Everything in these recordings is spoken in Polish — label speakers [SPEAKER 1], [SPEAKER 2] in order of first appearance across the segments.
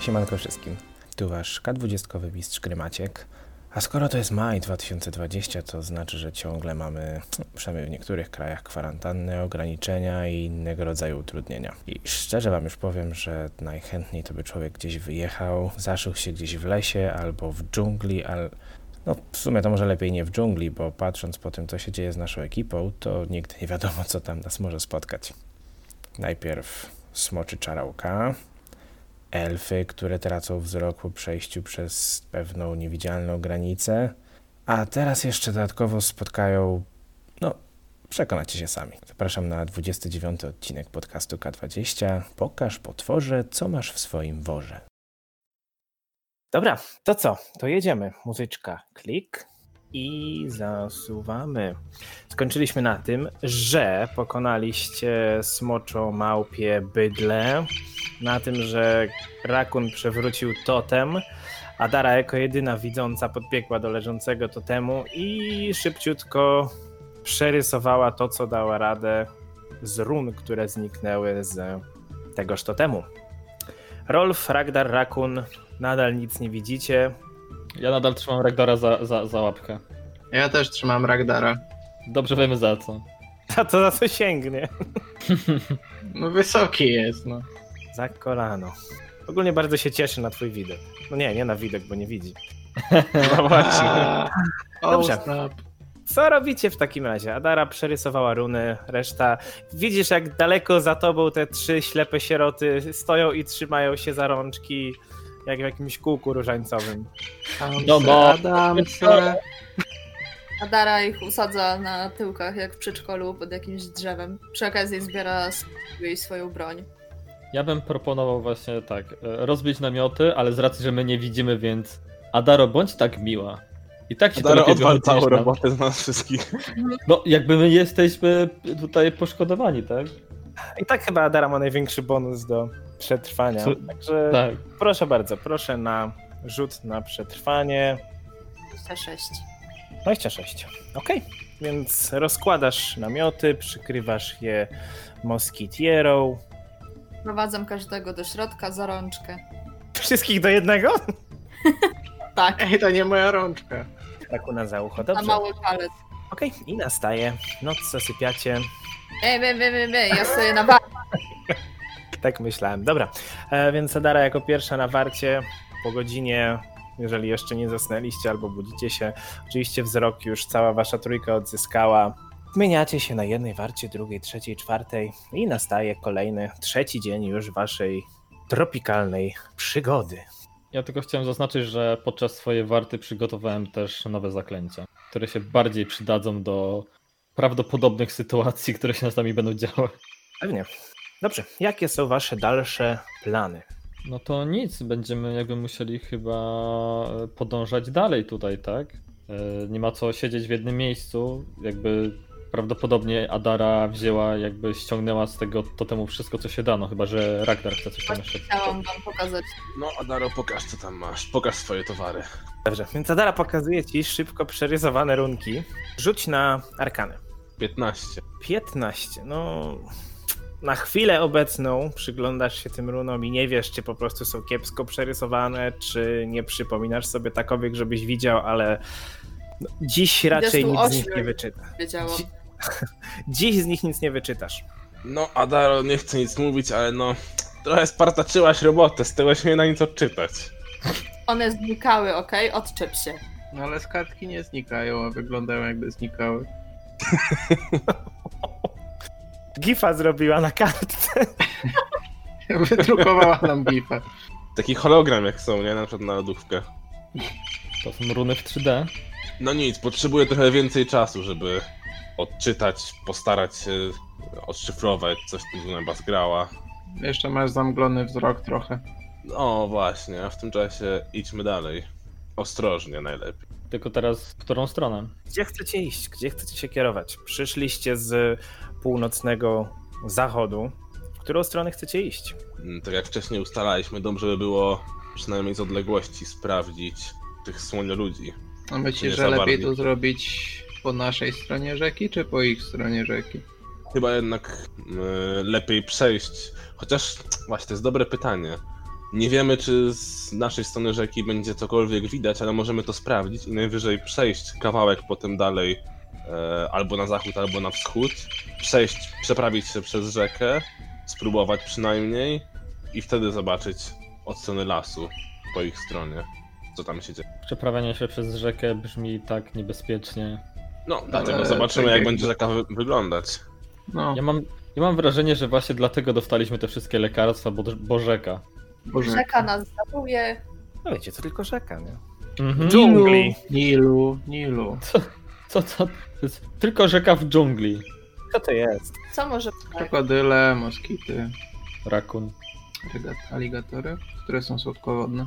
[SPEAKER 1] Siemanko wszystkim. Tu wasz K20 mistrz gry Maciek. A skoro to jest maj 2020, to znaczy, że ciągle mamy, przynajmniej w niektórych krajach, kwarantanny, ograniczenia i innego rodzaju utrudnienia. I szczerze wam już powiem, że najchętniej to by człowiek gdzieś wyjechał, zaszył się gdzieś w lesie albo w dżungli, al... No, w sumie to może lepiej nie w dżungli, bo patrząc po tym, co się dzieje z naszą ekipą, to nigdy nie wiadomo, co tam nas może spotkać. Najpierw smoczy czarałka, elfy, które tracą wzrok po przejściu przez pewną niewidzialną granicę, a teraz jeszcze dodatkowo spotkają. No, przekonacie się sami. Zapraszam na 29 odcinek podcastu K20. Pokaż potworze, co masz w swoim worze. Dobra, to co? To jedziemy. Muzyczka, klik i zasuwamy. Skończyliśmy na tym, że pokonaliście smoczo, małpie, bydlę na tym, że Rakun przewrócił totem, a Dara jako jedyna widząca podbiegła do leżącego totemu i szybciutko przerysowała to, co dała radę z run, które zniknęły z tegoż totemu. Rolf, Ragdar, Rakun, nadal nic nie widzicie.
[SPEAKER 2] Ja nadal trzymam Ragdara za, za, za łapkę.
[SPEAKER 3] Ja też trzymam Ragdara.
[SPEAKER 2] Dobrze wiemy za co.
[SPEAKER 1] A to za co sięgnie?
[SPEAKER 3] No wysoki jest, no.
[SPEAKER 1] Za kolano. Ogólnie bardzo się cieszy na twój widok. No nie, nie na widok, bo nie widzi.
[SPEAKER 2] No
[SPEAKER 3] A, oh,
[SPEAKER 1] Dobrze.
[SPEAKER 3] snap.
[SPEAKER 1] Co robicie w takim razie? Adara przerysowała runy, reszta. Widzisz, jak daleko za tobą te trzy ślepe sieroty stoją i trzymają się za rączki, jak w jakimś kółku różańcowym.
[SPEAKER 3] Tam
[SPEAKER 2] No
[SPEAKER 3] se,
[SPEAKER 2] bo-
[SPEAKER 3] Adam, se.
[SPEAKER 4] Adara ich usadza na tyłkach jak w przedszkolu pod jakimś drzewem. Przy okazji zbiera z jej swoją broń.
[SPEAKER 2] Ja bym proponował właśnie tak, e, rozbić namioty, ale z racji, że my nie widzimy, więc Adaro, bądź tak miła. I tak ci
[SPEAKER 5] Daro
[SPEAKER 2] to lepiej
[SPEAKER 5] odwal
[SPEAKER 2] wychodzi niż
[SPEAKER 5] całą
[SPEAKER 2] nam.
[SPEAKER 5] robotę z nas wszystkich.
[SPEAKER 2] No jakby my jesteśmy tutaj poszkodowani, tak?
[SPEAKER 1] I tak chyba Adara ma największy bonus do przetrwania.
[SPEAKER 2] Co-
[SPEAKER 1] Także
[SPEAKER 2] Tak.
[SPEAKER 1] proszę bardzo, proszę na rzut na przetrwanie.
[SPEAKER 4] 26.
[SPEAKER 1] 26. Okej. Więc rozkładasz namioty, przykrywasz je moskitierą.
[SPEAKER 4] Prowadzę każdego do środka za rączkę.
[SPEAKER 1] Wszystkich do jednego?
[SPEAKER 4] Tak,
[SPEAKER 3] Ej, to nie moja rączka.
[SPEAKER 1] Tak u nas za ucho,
[SPEAKER 4] na
[SPEAKER 1] dobrze.
[SPEAKER 4] mały palec.
[SPEAKER 1] Okej, i nastaje. No, Noc zasypiacie.
[SPEAKER 4] Ej, ej, ej, ej, ej, ja stoję na barze.
[SPEAKER 1] Tak myślałem. Dobra, e, więc Sadara jako pierwsza na warcie po godzinie, jeżeli jeszcze nie zasnęliście albo budzicie się, oczywiście wzrok już cała wasza trójka odzyskała. Zmieniacie się na jednej warcie, drugiej, trzeciej, czwartej i nastaje kolejny, trzeci dzień już waszej tropikalnej przygody.
[SPEAKER 2] Ja tylko chciałem zaznaczyć, że podczas swojej warty przygotowałem też nowe zaklęcia, które się bardziej przydadzą do prawdopodobnych sytuacji, które się z nami będą działy.
[SPEAKER 1] Pewnie. Dobrze, jakie są wasze dalsze plany?
[SPEAKER 2] No to nic, będziemy jakby musieli chyba e, podążać dalej tutaj, tak? E, Nie ma co siedzieć w jednym miejscu, jakby prawdopodobnie Adara wzięła, jakby ściągnęła z tego totemu wszystko, co się da, no chyba, że Ragnar chce coś tam jeszcze.
[SPEAKER 4] Chciałam wam pokazać.
[SPEAKER 5] No, Adaro, pokaż co tam masz. Pokaż swoje towary.
[SPEAKER 1] Dobrze, więc Adara pokazuje ci szybko przerysowane runki. Rzuć na arkany.
[SPEAKER 5] 15.
[SPEAKER 1] 15. No. Na chwilę obecną przyglądasz się tym runom i nie wiesz, czy po prostu są kiepsko przerysowane, czy nie przypominasz sobie takowych, żebyś widział, ale no, dziś raczej nic z nich nie
[SPEAKER 4] ośmiu.
[SPEAKER 1] wyczytasz.
[SPEAKER 4] Wiedziałam.
[SPEAKER 1] Dzi- Dziś z nich nic nie wyczytasz.
[SPEAKER 5] No, Adaro, nie chcę nic mówić, ale no... Trochę spartaczyłaś robotę, z tego się nie da nic odczytać.
[SPEAKER 4] One znikały, okej? Odczep się.
[SPEAKER 3] No ale składki nie znikają, a wyglądają jakby znikały.
[SPEAKER 1] Gifa zrobiła na kartce.
[SPEAKER 3] Wydrukowała nam gifa.
[SPEAKER 5] Taki hologram jak są, nie? Na przykład na lodówkę.
[SPEAKER 2] To są runy w 3D.
[SPEAKER 5] No nic, potrzebuję trochę więcej czasu, żeby odczytać, postarać się e, odszyfrować, coś tu Zuneba zgrała.
[SPEAKER 3] Jeszcze masz zamglony wzrok trochę.
[SPEAKER 5] No właśnie, a w tym czasie idźmy dalej. Ostrożnie najlepiej.
[SPEAKER 2] Tylko teraz w którą stronę?
[SPEAKER 1] Gdzie chcecie iść? Gdzie chcecie się kierować? Przyszliście z północnego zachodu. W którą stronę chcecie iść?
[SPEAKER 5] Mm, Tak jak wcześniej ustalaliśmy, dobrze by było przynajmniej z odległości sprawdzić tych słonioludzi.
[SPEAKER 3] A myślisz,
[SPEAKER 5] Nie
[SPEAKER 3] że
[SPEAKER 5] za
[SPEAKER 3] lepiej
[SPEAKER 5] Barbie.
[SPEAKER 3] to zrobić po naszej stronie rzeki, czy po ich stronie rzeki?
[SPEAKER 5] mm, Chyba jednak y, lepiej przejść. Chociaż właśnie to jest dobre pytanie. Nie wiemy, czy z naszej strony rzeki będzie cokolwiek widać, ale możemy to sprawdzić i najwyżej przejść kawałek potem dalej e, albo na zachód, albo na wschód. Przejść, przeprawić się przez rzekę, spróbować przynajmniej i wtedy zobaczyć od strony lasu po ich stronie, co tam się dzieje.
[SPEAKER 2] Przeprawianie się przez rzekę brzmi tak niebezpiecznie.
[SPEAKER 5] No, dlatego
[SPEAKER 3] Eee,
[SPEAKER 5] zobaczymy,
[SPEAKER 3] tak
[SPEAKER 5] jak
[SPEAKER 3] jak-
[SPEAKER 5] będzie rzeka wy- wyglądać.
[SPEAKER 3] No,
[SPEAKER 2] Ja mam, ja mam wrażenie, że właśnie dlatego dostaliśmy te wszystkie lekarstwa, bo, bo rzeka.
[SPEAKER 3] Boże.
[SPEAKER 4] Rzeka nas zabuje.
[SPEAKER 1] No wiecie, to tylko rzeka, nie?
[SPEAKER 2] Mhm.
[SPEAKER 6] Dżungli.
[SPEAKER 3] Nilu, Nilu.
[SPEAKER 2] Co, co? to jest Tylko rzeka w dżungli.
[SPEAKER 1] Co to jest?
[SPEAKER 4] Co może tak?
[SPEAKER 3] Krokodyle, moskity,
[SPEAKER 2] Rakun.
[SPEAKER 3] aligat- aligatory, które są słodkowodne.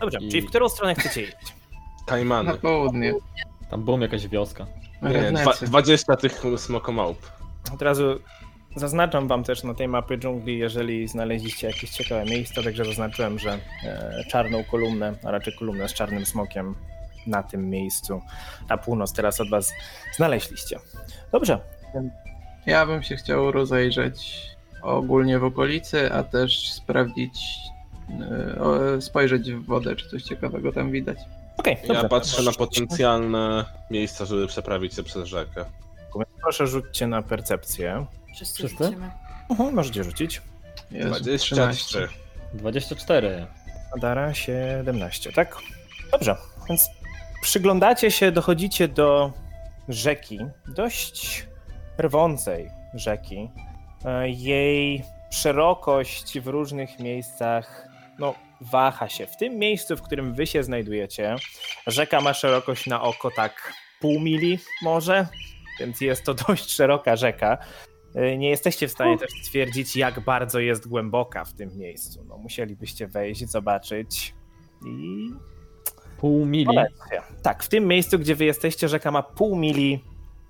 [SPEAKER 6] Dobrze,
[SPEAKER 2] I-
[SPEAKER 6] czyli w którą stronę chcecie iść?
[SPEAKER 3] Na
[SPEAKER 5] Kajmany.
[SPEAKER 3] południe.
[SPEAKER 2] Tam była jakaś wioska.
[SPEAKER 5] Nie, dwa,
[SPEAKER 3] Rednecy.
[SPEAKER 5] 20 tych smokomałp.
[SPEAKER 1] Od razu zaznaczam wam też na tej mapie dżungli, jeżeli znaleźliście jakieś ciekawe miejsca, także zaznaczyłem, że e, czarną kolumnę, a raczej kolumnę z czarnym smokiem na tym miejscu na północ teraz od was znaleźliście. Dobrze,
[SPEAKER 3] Ja bym się chciał rozejrzeć ogólnie w okolicy, a też sprawdzić, e, o, spojrzeć w wodę, czy coś ciekawego tam widać.
[SPEAKER 1] okej,
[SPEAKER 5] Ja
[SPEAKER 1] dobrze.
[SPEAKER 5] patrzę na potencjalne miejsca, żeby przeprawić się przez rzekę.
[SPEAKER 1] Proszę rzućcie na percepcję.
[SPEAKER 4] Wszyscy
[SPEAKER 2] Wszyscy?
[SPEAKER 4] widzimy.
[SPEAKER 1] Mhm, możecie rzucić.
[SPEAKER 3] Jezu,
[SPEAKER 5] 23.
[SPEAKER 2] 24.
[SPEAKER 1] Adara 17, tak? Dobrze, więc przyglądacie się, dochodzicie do rzeki, dość rwącej rzeki. E, Jej szerokość w różnych miejscach no, waha się. W tym miejscu, w którym wy się znajdujecie, rzeka ma szerokość na oko tak pół mili może, więc jest to dość szeroka rzeka. Y, Nie jesteście w stanie też stwierdzić, jak bardzo jest głęboka w tym miejscu. No, musielibyście wejść, zobaczyć i.
[SPEAKER 2] Pół mili.
[SPEAKER 1] Polecam. Tak, w tym miejscu, gdzie wy jesteście, rzeka ma pół mili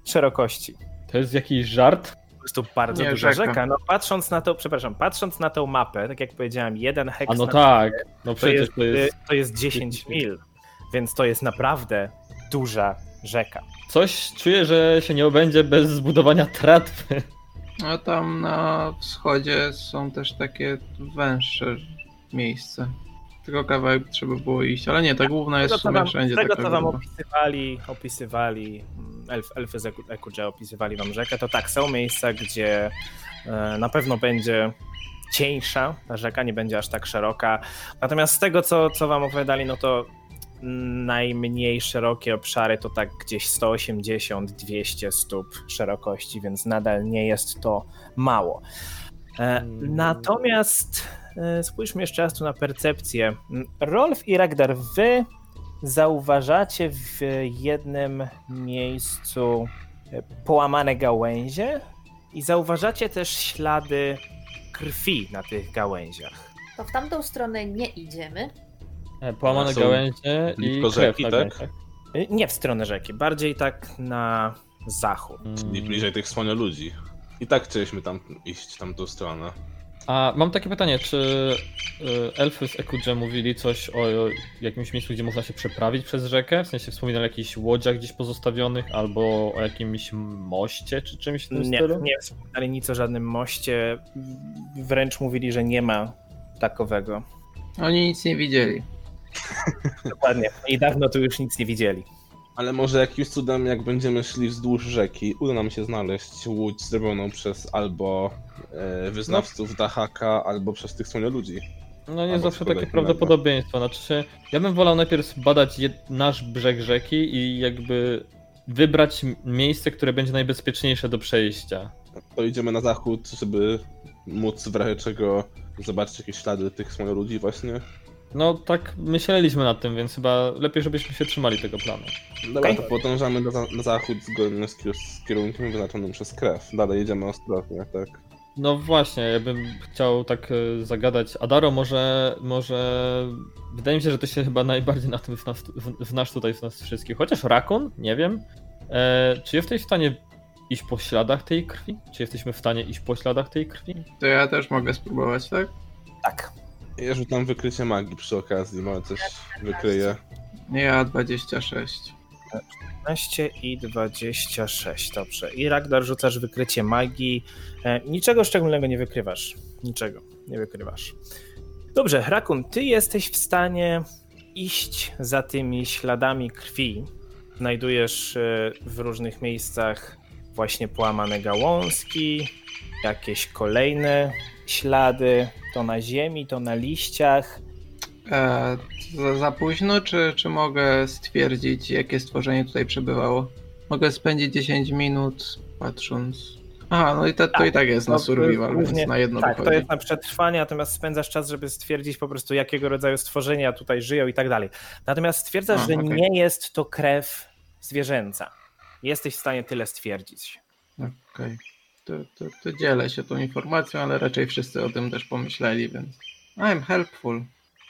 [SPEAKER 1] szerokości.
[SPEAKER 2] To jest jakiś żart?
[SPEAKER 1] Po prostu bardzo
[SPEAKER 3] Nie,
[SPEAKER 1] duża rzeka.
[SPEAKER 3] rzeka.
[SPEAKER 1] No, patrząc na to, przepraszam, patrząc na tą mapę, tak jak powiedziałem, jeden
[SPEAKER 2] A
[SPEAKER 1] heks
[SPEAKER 2] no
[SPEAKER 1] na
[SPEAKER 2] tak. No
[SPEAKER 1] to
[SPEAKER 2] przecież
[SPEAKER 1] jest,
[SPEAKER 2] to jest...
[SPEAKER 1] to jest 10 mil, więc to jest naprawdę duża rzeka.
[SPEAKER 2] Coś czuję, że się nie obędzie bez zbudowania tratwy.
[SPEAKER 3] A tam na wschodzie są też takie węższe miejsca. Tylko kawałek trzeba było iść, ale nie, ta główna jest
[SPEAKER 1] Tego,
[SPEAKER 3] w
[SPEAKER 1] co
[SPEAKER 3] sumie
[SPEAKER 1] wam,
[SPEAKER 3] wszędzie tak no.
[SPEAKER 1] tego,
[SPEAKER 3] taka
[SPEAKER 1] co wam
[SPEAKER 3] gruba.
[SPEAKER 1] opisywali, opisywali mm, elf, elfy z Eku- Ekudże, opisywali wam rzekę, to tak, są miejsca, gdzie e, na pewno będzie cieńsza ta rzeka, nie będzie aż tak szeroka. Natomiast z tego, co, co wam opowiadali, no to najmniej szerokie obszary to tak gdzieś 180-200 stóp szerokości, więc nadal nie jest to mało. E,
[SPEAKER 2] Mm.
[SPEAKER 1] natomiast e, spójrzmy jeszcze raz tu na percepcję. Mm, Rolf i Ragdar, wy zauważacie w jednym miejscu e, połamane gałęzie i zauważacie też ślady krwi na tych gałęziach.
[SPEAKER 4] To w tamtą stronę nie idziemy.
[SPEAKER 2] E, Połamane
[SPEAKER 5] Są
[SPEAKER 2] gałęzie i
[SPEAKER 5] blisko
[SPEAKER 2] krew
[SPEAKER 5] rzeki,
[SPEAKER 2] na
[SPEAKER 5] tak?
[SPEAKER 2] gałęziach.
[SPEAKER 1] Y, Nie w stronę rzeki, bardziej tak na zachód.
[SPEAKER 5] I
[SPEAKER 2] Mm.
[SPEAKER 5] bliżej tych słonio ludzi. I tak chcieliśmy tam iść, tamtą stronę.
[SPEAKER 2] A mam takie pytanie, czy y, elfy z Ekudże mówili coś o o jakimś miejscu, gdzie można się przeprawić przez rzekę? W sensie wspominali o jakichś łodziach gdzieś pozostawionych, albo o jakimś moście, czy czymś w tym
[SPEAKER 1] Nie,
[SPEAKER 2] stylu?
[SPEAKER 1] nie wspominali nic o żadnym moście, w- wręcz mówili, że nie ma takowego.
[SPEAKER 3] Oni nic nie widzieli.
[SPEAKER 1] Dokładnie. I dawno tu już nic nie widzieli.
[SPEAKER 5] Ale może jakimś cudem, jak będziemy szli wzdłuż rzeki, uda nam się znaleźć łódź zrobioną przez albo e, wyznawców
[SPEAKER 3] No.
[SPEAKER 5] Dahaka, albo przez tych słonio ludzi.
[SPEAKER 2] No nie
[SPEAKER 5] Albo
[SPEAKER 2] zawsze takie
[SPEAKER 5] cokolwiek innego.
[SPEAKER 2] prawdopodobieństwo. Znaczy się, ja bym wolał najpierw badać jed- nasz brzeg rzeki i jakby wybrać m- miejsce, które będzie najbezpieczniejsze do przejścia.
[SPEAKER 5] To idziemy na zachód, żeby móc w razie czego zobaczyć jakieś ślady tych słonio ludzi właśnie.
[SPEAKER 2] No tak myśleliśmy nad tym, więc chyba lepiej, żebyśmy się trzymali tego planu.
[SPEAKER 5] Dobra,
[SPEAKER 1] Okej.
[SPEAKER 5] to podążamy na, za- na zachód zgodnie z, kier- z kierunkiem wyznaczonym przez krew. Dalej jedziemy ostrożnie, tak?
[SPEAKER 2] No właśnie, ja bym chciał tak e, zagadać. Adaro, może, może. Wydaje mi się, że ty się chyba najbardziej na tym zna- w- znasz tutaj z nas wszystkich. Chociaż Rakun, nie wiem. E, czy jesteś w stanie iść po śladach tej krwi? Czy jesteśmy w stanie iść po śladach tej krwi?
[SPEAKER 3] To ja też mogę spróbować, tak?
[SPEAKER 1] Tak.
[SPEAKER 5] Ja rzucam wykrycie magii przy okazji, może coś wykryję.
[SPEAKER 3] Ja 26.
[SPEAKER 1] 15 i 26, dobrze. I Ragdar rzucasz wykrycie magii. E, niczego szczególnego nie wykrywasz. Niczego nie wykrywasz. Dobrze, Rakun, ty jesteś w stanie iść za tymi śladami krwi. Znajdujesz e, w różnych miejscach właśnie połamane gałązki, jakieś kolejne ślady, to na ziemi, to na liściach.
[SPEAKER 3] E, za, za późno, czy, czy mogę stwierdzić, jakie stworzenie tutaj przebywało? Mogę spędzić 10 minut patrząc. Aha, no i to, to i tak jest na
[SPEAKER 1] Tak, to jest
[SPEAKER 3] survival,
[SPEAKER 1] głównie-
[SPEAKER 3] więc na jedno
[SPEAKER 1] Tak, to
[SPEAKER 3] wychodzi.
[SPEAKER 1] jest na przetrwanie, natomiast spędzasz czas, żeby stwierdzić po prostu, jakiego rodzaju stworzenia tutaj żyją i tak dalej. Natomiast stwierdzasz,
[SPEAKER 3] A,
[SPEAKER 1] że
[SPEAKER 3] okej.
[SPEAKER 1] nie jest to krew zwierzęca. Jesteś w stanie tyle stwierdzić.
[SPEAKER 3] Okej. To, to, to dzielę się tą informacją, ale raczej wszyscy o tym też pomyśleli, więc. I'm helpful.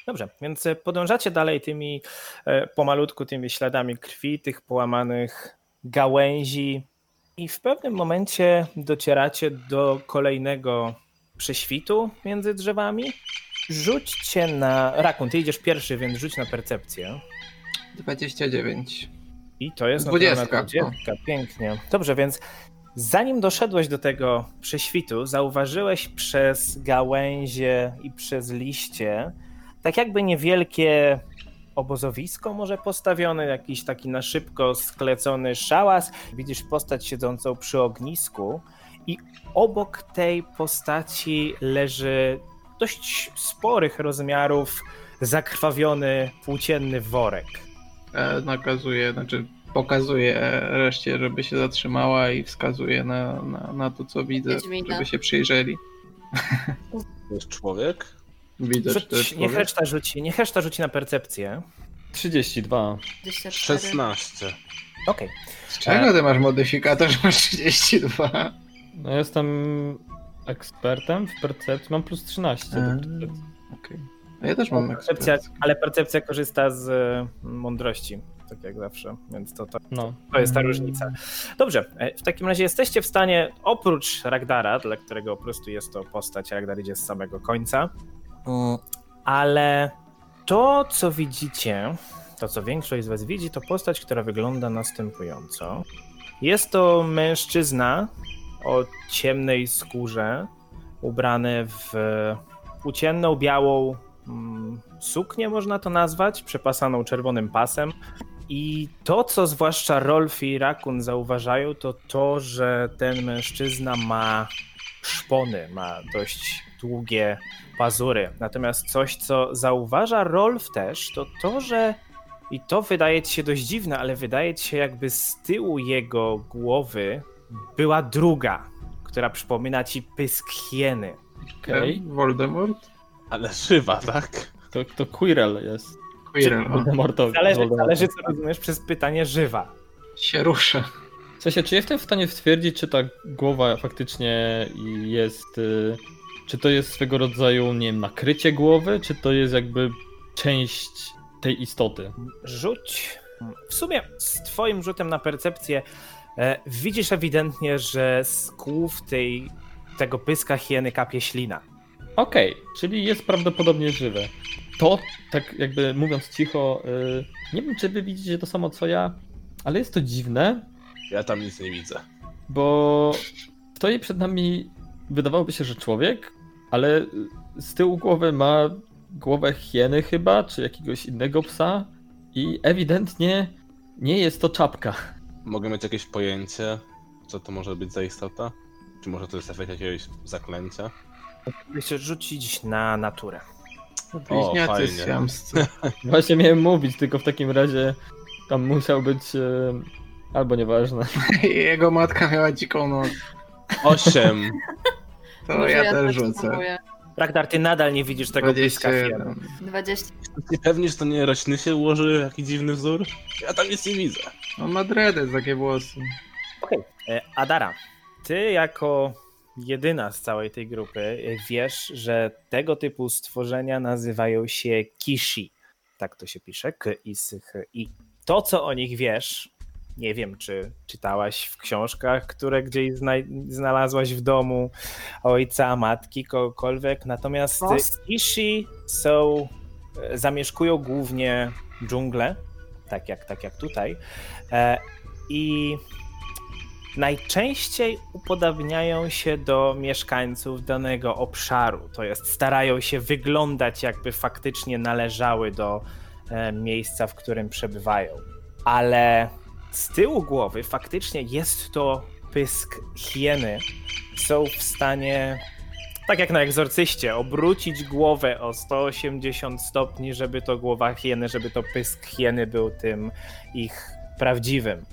[SPEAKER 1] Dobrze, więc e, podążacie dalej tymi e, pomalutku tymi śladami krwi, tych połamanych gałęzi i w pewnym momencie docieracie do kolejnego prześwitu między drzewami. Rzućcie na... Rakun, ty idziesz pierwszy, więc rzuć na percepcję.
[SPEAKER 3] 29.
[SPEAKER 1] I to jest
[SPEAKER 3] Dwudziestka.
[SPEAKER 1] dwudziestka. Pięknie. Dobrze, więc zanim doszedłeś do tego prześwitu, zauważyłeś przez gałęzie i przez liście tak jakby niewielkie obozowisko może postawione, jakiś taki na szybko sklecony szałas. Widzisz postać siedzącą przy ognisku i obok tej postaci leży dość sporych rozmiarów zakrwawiony płócienny worek.
[SPEAKER 3] E, nakazuje, znaczy pokazuje e, reszcie, żeby się zatrzymała i wskazuje na, na, na to, co widzę,
[SPEAKER 4] Wiedźmina.
[SPEAKER 3] żeby się przyjrzeli.
[SPEAKER 5] To jest człowiek?
[SPEAKER 3] Widzę, czy to jest
[SPEAKER 1] Rzuć, niech,
[SPEAKER 3] człowiek.
[SPEAKER 1] reszta rzuci, niech reszta rzuci na percepcję.
[SPEAKER 2] 32.
[SPEAKER 4] 24.
[SPEAKER 5] 16.
[SPEAKER 1] Okej.
[SPEAKER 3] Z czego ty masz modyfikator, że masz 32?
[SPEAKER 2] No jestem ekspertem w percepcji, mam plus 13 do
[SPEAKER 1] Mm.
[SPEAKER 3] Eee.
[SPEAKER 2] percepcji.
[SPEAKER 3] Okej. A Ja też mam
[SPEAKER 1] Percepcja,
[SPEAKER 3] ekspercję.
[SPEAKER 1] ale percepcja korzysta z e, mądrości, tak jak zawsze, więc to, to,
[SPEAKER 2] No.
[SPEAKER 1] to jest ta
[SPEAKER 3] Mm.
[SPEAKER 1] różnica. Dobrze, e, w takim razie jesteście w stanie, oprócz Ragdara, dla którego po prostu jest to postać, Ragdar idzie z samego końca, mm, ale to, co widzicie, to, co większość z was widzi, to postać, która wygląda następująco. Jest to mężczyzna o ciemnej skórze, ubrany w płócienną, białą mm, suknię, można to nazwać, przepasaną czerwonym pasem. I to, co zwłaszcza Rolf i Rakun zauważają, to to, że ten mężczyzna ma szpony, ma dość długie pazury. Natomiast coś, co zauważa Rolf też, to to, że i to wydaje ci się dość dziwne, ale wydaje ci się jakby z tyłu jego głowy była druga, która przypomina ci pysk hieny.
[SPEAKER 2] Okej.
[SPEAKER 3] Ten Voldemort?
[SPEAKER 5] Ale żywa, tak?
[SPEAKER 2] To, to Quirrell jest.
[SPEAKER 3] Quirrell, o,
[SPEAKER 2] Voldemortowi.
[SPEAKER 1] Zależy,
[SPEAKER 2] Voldemort.
[SPEAKER 1] zależy co rozumiesz przez pytanie żywa.
[SPEAKER 3] się rusza.
[SPEAKER 2] W sensie, czy jestem w stanie stwierdzić, czy ta głowa faktycznie jest. y, Czy to jest swego rodzaju, nie wiem, nakrycie głowy, czy to jest jakby część tej istoty?
[SPEAKER 1] Rzuć. W sumie z twoim rzutem na percepcję e, widzisz ewidentnie, że z kłów tej, tego pyska hieny kapie ślina.
[SPEAKER 2] Okej, czyli jest prawdopodobnie żywe. To, tak jakby mówiąc cicho, y, nie wiem, czy wy widzicie to samo co ja, ale jest to dziwne,
[SPEAKER 5] Ja tam nic nie widzę.
[SPEAKER 2] bo stoi przed nami, wydawałoby się, że człowiek, ale z tyłu głowy ma głowę hieny chyba, czy jakiegoś innego psa i ewidentnie nie jest to czapka.
[SPEAKER 5] Mogę mieć jakieś pojęcie, co to może być za istota? Czy może to jest efekt jakiegoś zaklęcia?
[SPEAKER 1] Chcesz rzucić na naturę.
[SPEAKER 3] Bliźniacy
[SPEAKER 5] fajnie.
[SPEAKER 3] siamscy.
[SPEAKER 2] Właśnie miałem mówić, tylko w takim razie tam musiał być e, albo nieważne.
[SPEAKER 3] Jego matka miała dziką noc.
[SPEAKER 5] Osiem.
[SPEAKER 3] To
[SPEAKER 4] Może
[SPEAKER 3] ja, też
[SPEAKER 4] tak
[SPEAKER 3] rzucę.
[SPEAKER 4] spróbuję.
[SPEAKER 1] Ragnar, ty nadal nie widzisz tego pyska hieny.
[SPEAKER 3] 21.
[SPEAKER 4] 20.
[SPEAKER 5] Jesteś pewni, że to nie rośliny się ułożyły? Jaki dziwny wzór? Ja tam nic nie widzę.
[SPEAKER 3] On ma dready, No, takie włosy.
[SPEAKER 1] E, Adara, ty jako jedyna z całej tej grupy e, wiesz, że tego typu stworzenia nazywają się kishi. Tak to się pisze, k i s h i. To, co o nich wiesz, nie wiem, czy czytałaś w książkach, które gdzieś znaj- znalazłaś w domu ojca, matki, kogokolwiek, natomiast e,
[SPEAKER 4] Most?
[SPEAKER 1] kishi są, e, zamieszkują głównie dżunglę, tak jak, tak jak tutaj, E, i najczęściej upodabniają się do mieszkańców danego obszaru. To jest, starają się wyglądać, jakby faktycznie należały do e, miejsca, w którym przebywają. Ale z tyłu głowy faktycznie jest to pysk hieny. Są w stanie, tak jak na egzorcyście, obrócić głowę o 180 stopni, żeby to głowa hieny, żeby to pysk hieny był tym ich prawdziwym.